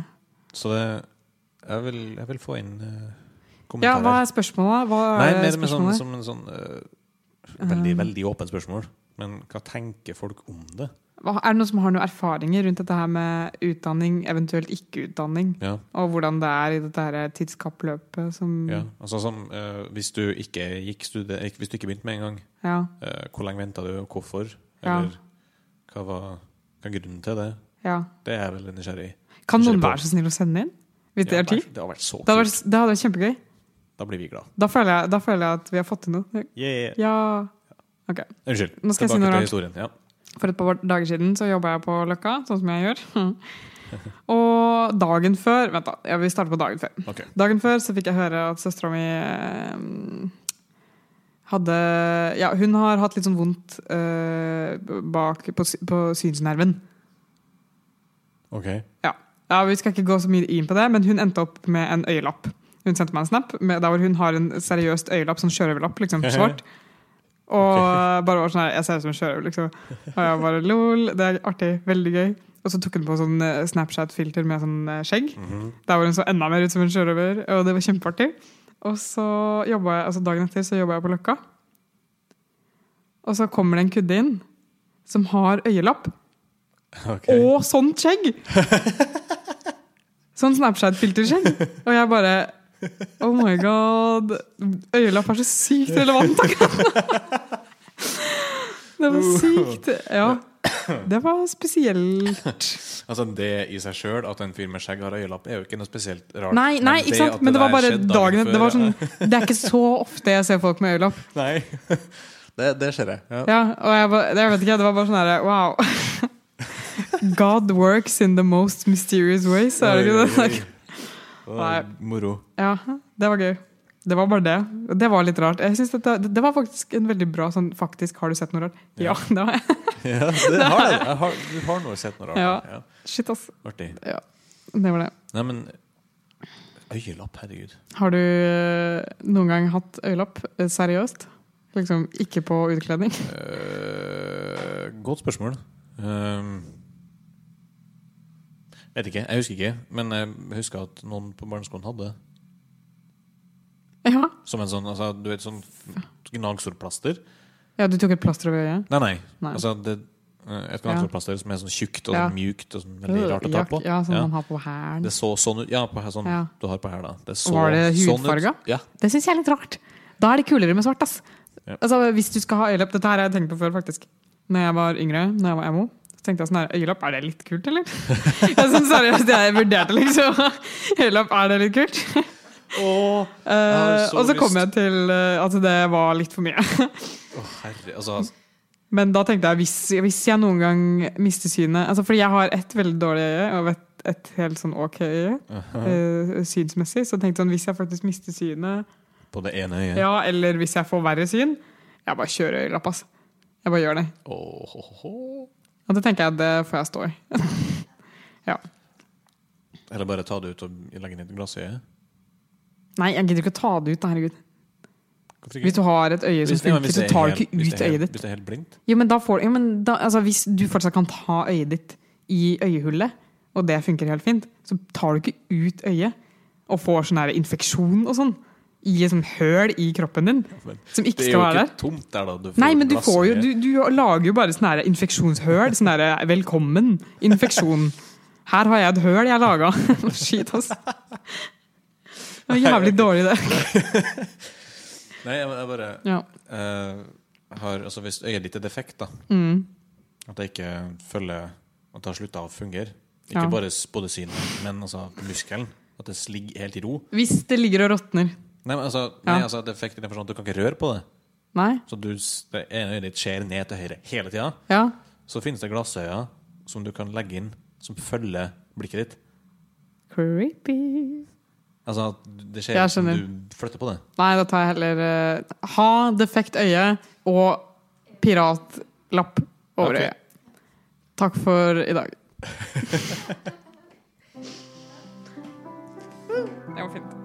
Så det Jeg vil, jeg vil få inn eh,
Ja, hva
kommentarer.
er spørsmålet? Hva
Nei,
er
mer med sånn,
spørsmålet? Um.
som en sånn eh, Veldig, veldig åpent spørsmål. Men hva tenker folk om det?
Hva- Er det noen som har noen erfaringer rundt dette her med utdanning, eventuelt ikke-utdanning?
Ja.
Og hvordan det er i dette her tidskappløpet som
Ja, altså som, eh, hvis, du ikke gikk studie, ikke- hvis du ikke begynte med en gang,
Ja.
eh, hvor lenge venta du, og hvorfor?
Ja.
Eller hva var hva er grunnen til det?
ja.
Det er jeg veldig nysgjerrig i.
Kan
Kjør
noen
på.
være så snill å sende inn? Hvis det
Ja,
er tid?
Det har vært så
Det hadde
kult.
vært, det hadde vært kjempegøy.
Da blir vi glad.
Da føler, jeg, da føler jeg at vi har fått til noe.
Yeah.
Ja.
Unnskyld.
Nå skal jeg si
Tilbake til
noe rart.
historien. Ja.
For et par dager siden så jobba jeg på Løkka, sånn som jeg gjør. Og dagen før Vent, da. Jeg vil starte på dagen før.
Ok.
Dagen før så fikk jeg høre at søstera mi eh, hadde Ja, hun har hatt litt sånn vondt eh, bak på, sy- på synsnerven.
Ok.
Ja, Vi skal ikke gå så mye inn på det, men hun endte opp med en øyelapp. Hun sendte meg en snap med, der hvor hun har en seriøst øyelapp, sånn sjørøverlapp, liksom, svart. Og bare var sånn her Jeg ser ut som en sjørøver, liksom. Og jeg bare lol. Det er artig. Veldig gøy. Og så tok hun på sånn eh, Snapchat-filter med sånn eh, skjegg.
Mhm.
Der hvor hun så enda mer ut som en sjørøver, og det var kjempeartig. Og så jobbet jeg, altså dagen etter så jobba jeg på Løkka. Og så kommer det en kudde inn som har øyelapp
Ok.
og sånt skjegg! Sånn Snapchat-filterskjegg. Og jeg bare Oh my god. Øyelapp er så sykt relevant akkurat nå! Det var sykt. Ja. Det var spesielt.
Altså Det i seg sjøl, at en fyr med skjegg har øyelapp, er jo ikke noe spesielt rart.
Nei, nei, ikke sant?
at
Men det var
der
bare
skjedde
dagen Det var
før,
sånn,
ja.
det er ikke så ofte jeg ser folk med øyelapp.
Nei. Det, det skjer, jeg. Ja.
Ja, og jeg, bare, jeg vet ikke, det var bare sånn her Wow. God works in the most mysterious ways, er det ikke det?
Oi, oi, oi.
Nei.
Moro.
Ja, det var gøy. Det var bare det. Og Det var litt rart. Jeg synes dette, det, det var faktisk en veldig bra sånn Faktisk, har du sett noe rart? Ja, det har jeg.
Ja, det har jeg. jeg har, du har nå sett noe rart.
Ja.
Ja.
Shit, ass.
Artig.
Ja, det var det.
Nei, men Øyelapp, herregud.
Har du eh, noen gang hatt øyelapp? eh, Seriøst? Liksom ikke på utkledning?
Eh, godt spørsmål. Ehm, vet ikke. Jeg husker ikke. Men jeg husker at noen på barneskolen hadde det.
Ja.
Som en sånn altså, du vet, sånn gnagsårplaster.
ja, du tok et plaster over øyet?
Nei, nei.
Nei.
Altså, det, eh, et gnagsårplaster som er sånn tjukt og
Ja.
sånn mjukt og sånn veldig rart å ta
Jak-
på.
Ja, sånn
Ja.
man har på hælen.
Det så sånn ut. Ja, på, her- sånn
Ja.
du har på her, da. Det så
Var det
sånn ut.
hudfarga?
Ja.
Det syns jeg er litt rart. Da er det kulere med svart. ass.
Ja.
Altså, Hvis du skal ha øyelapp Dette her har jeg tenkt på før, faktisk. Når jeg var yngre, når jeg var emo, så tenkte jeg sånn her Øyelapp, er det litt kult, eller? jeg synes seriøst, jeg vurderte liksom Øyelapp, er det litt kult?
Åh,
Eh,
har så
og så kom
lyst.
jeg til eh, at det var litt for mye.
herre, altså,
Men da tenkte jeg, hvis, hvis jeg noen gang mister synet altså Fordi jeg har ett veldig dårlig øye og et, et helt sånn ok øye, eh, synsmessig. Så tenkte jeg sånn, hvis jeg faktisk mister synet
på det ene øyet.
Ja, eller hvis jeg får verre syn, jeg bare kjører øyelapp, ass. Jeg bare gjør det.
Åh, ho, ho, ho.
Og det tenker jeg, det får jeg stå i.
Eller bare ta det ut og legge ned glassøyet.
Nei, jeg gidder ikke å ta det ut, da, herregud.
Hvorfor
Hvis du har et øye som
ja, men
funker, så
det er
tar du
helt-
ikke
hvis det
ut
er helt-
øyet ditt.
Hvis det er helt blindt?
Jo, men da får, jo, men da, altså, hvis du fortsatt kan ta øyet ditt i øyehullet, og det funker helt fint, så tar du ikke ut øyet og får sånn her infeksjon og sånn i et sånn høl i kroppen din
Men
som ikke
Det er
skal
jo
være
ikke
der.
tomt der, da. Du får
Nei, men du,
glass
får jo,
med-
du, du lager jo bare sånn her infeksjonshøl. Sånn her 'velkommen, infeksjon'. Her har jeg et høl jeg laga. Skit, ass. Det var jævlig dårlig, det.
Nei, jeg, jeg bare
Ja.
eh, har Altså, hvis øyet ditt er defekt, da,
Mm.
at det ikke følger At det har slutta å fungere, ikke
Ja.
bare s- både synet, men altså muskelen, at det ligger helt i ro
Hvis det ligger og råtner.
Nei, men altså, nei,
Ja.
altså defekt i den forstand at du kan ikke røre på det.
Nei?
Så du, s- det ene øyet ditt ser ned til høyre hele tida.
Ja.
Så finnes det glassøyne som du kan legge inn, som følger blikket ditt.
Creepy.
Altså at det skjer
Jeg
som
skjønner.
du flytter på det.
Nei, da tar jeg heller eh, Ha defekt øye og piratlapp over
Ok.
øyet. Takk for i dag. Mm, Det var fint.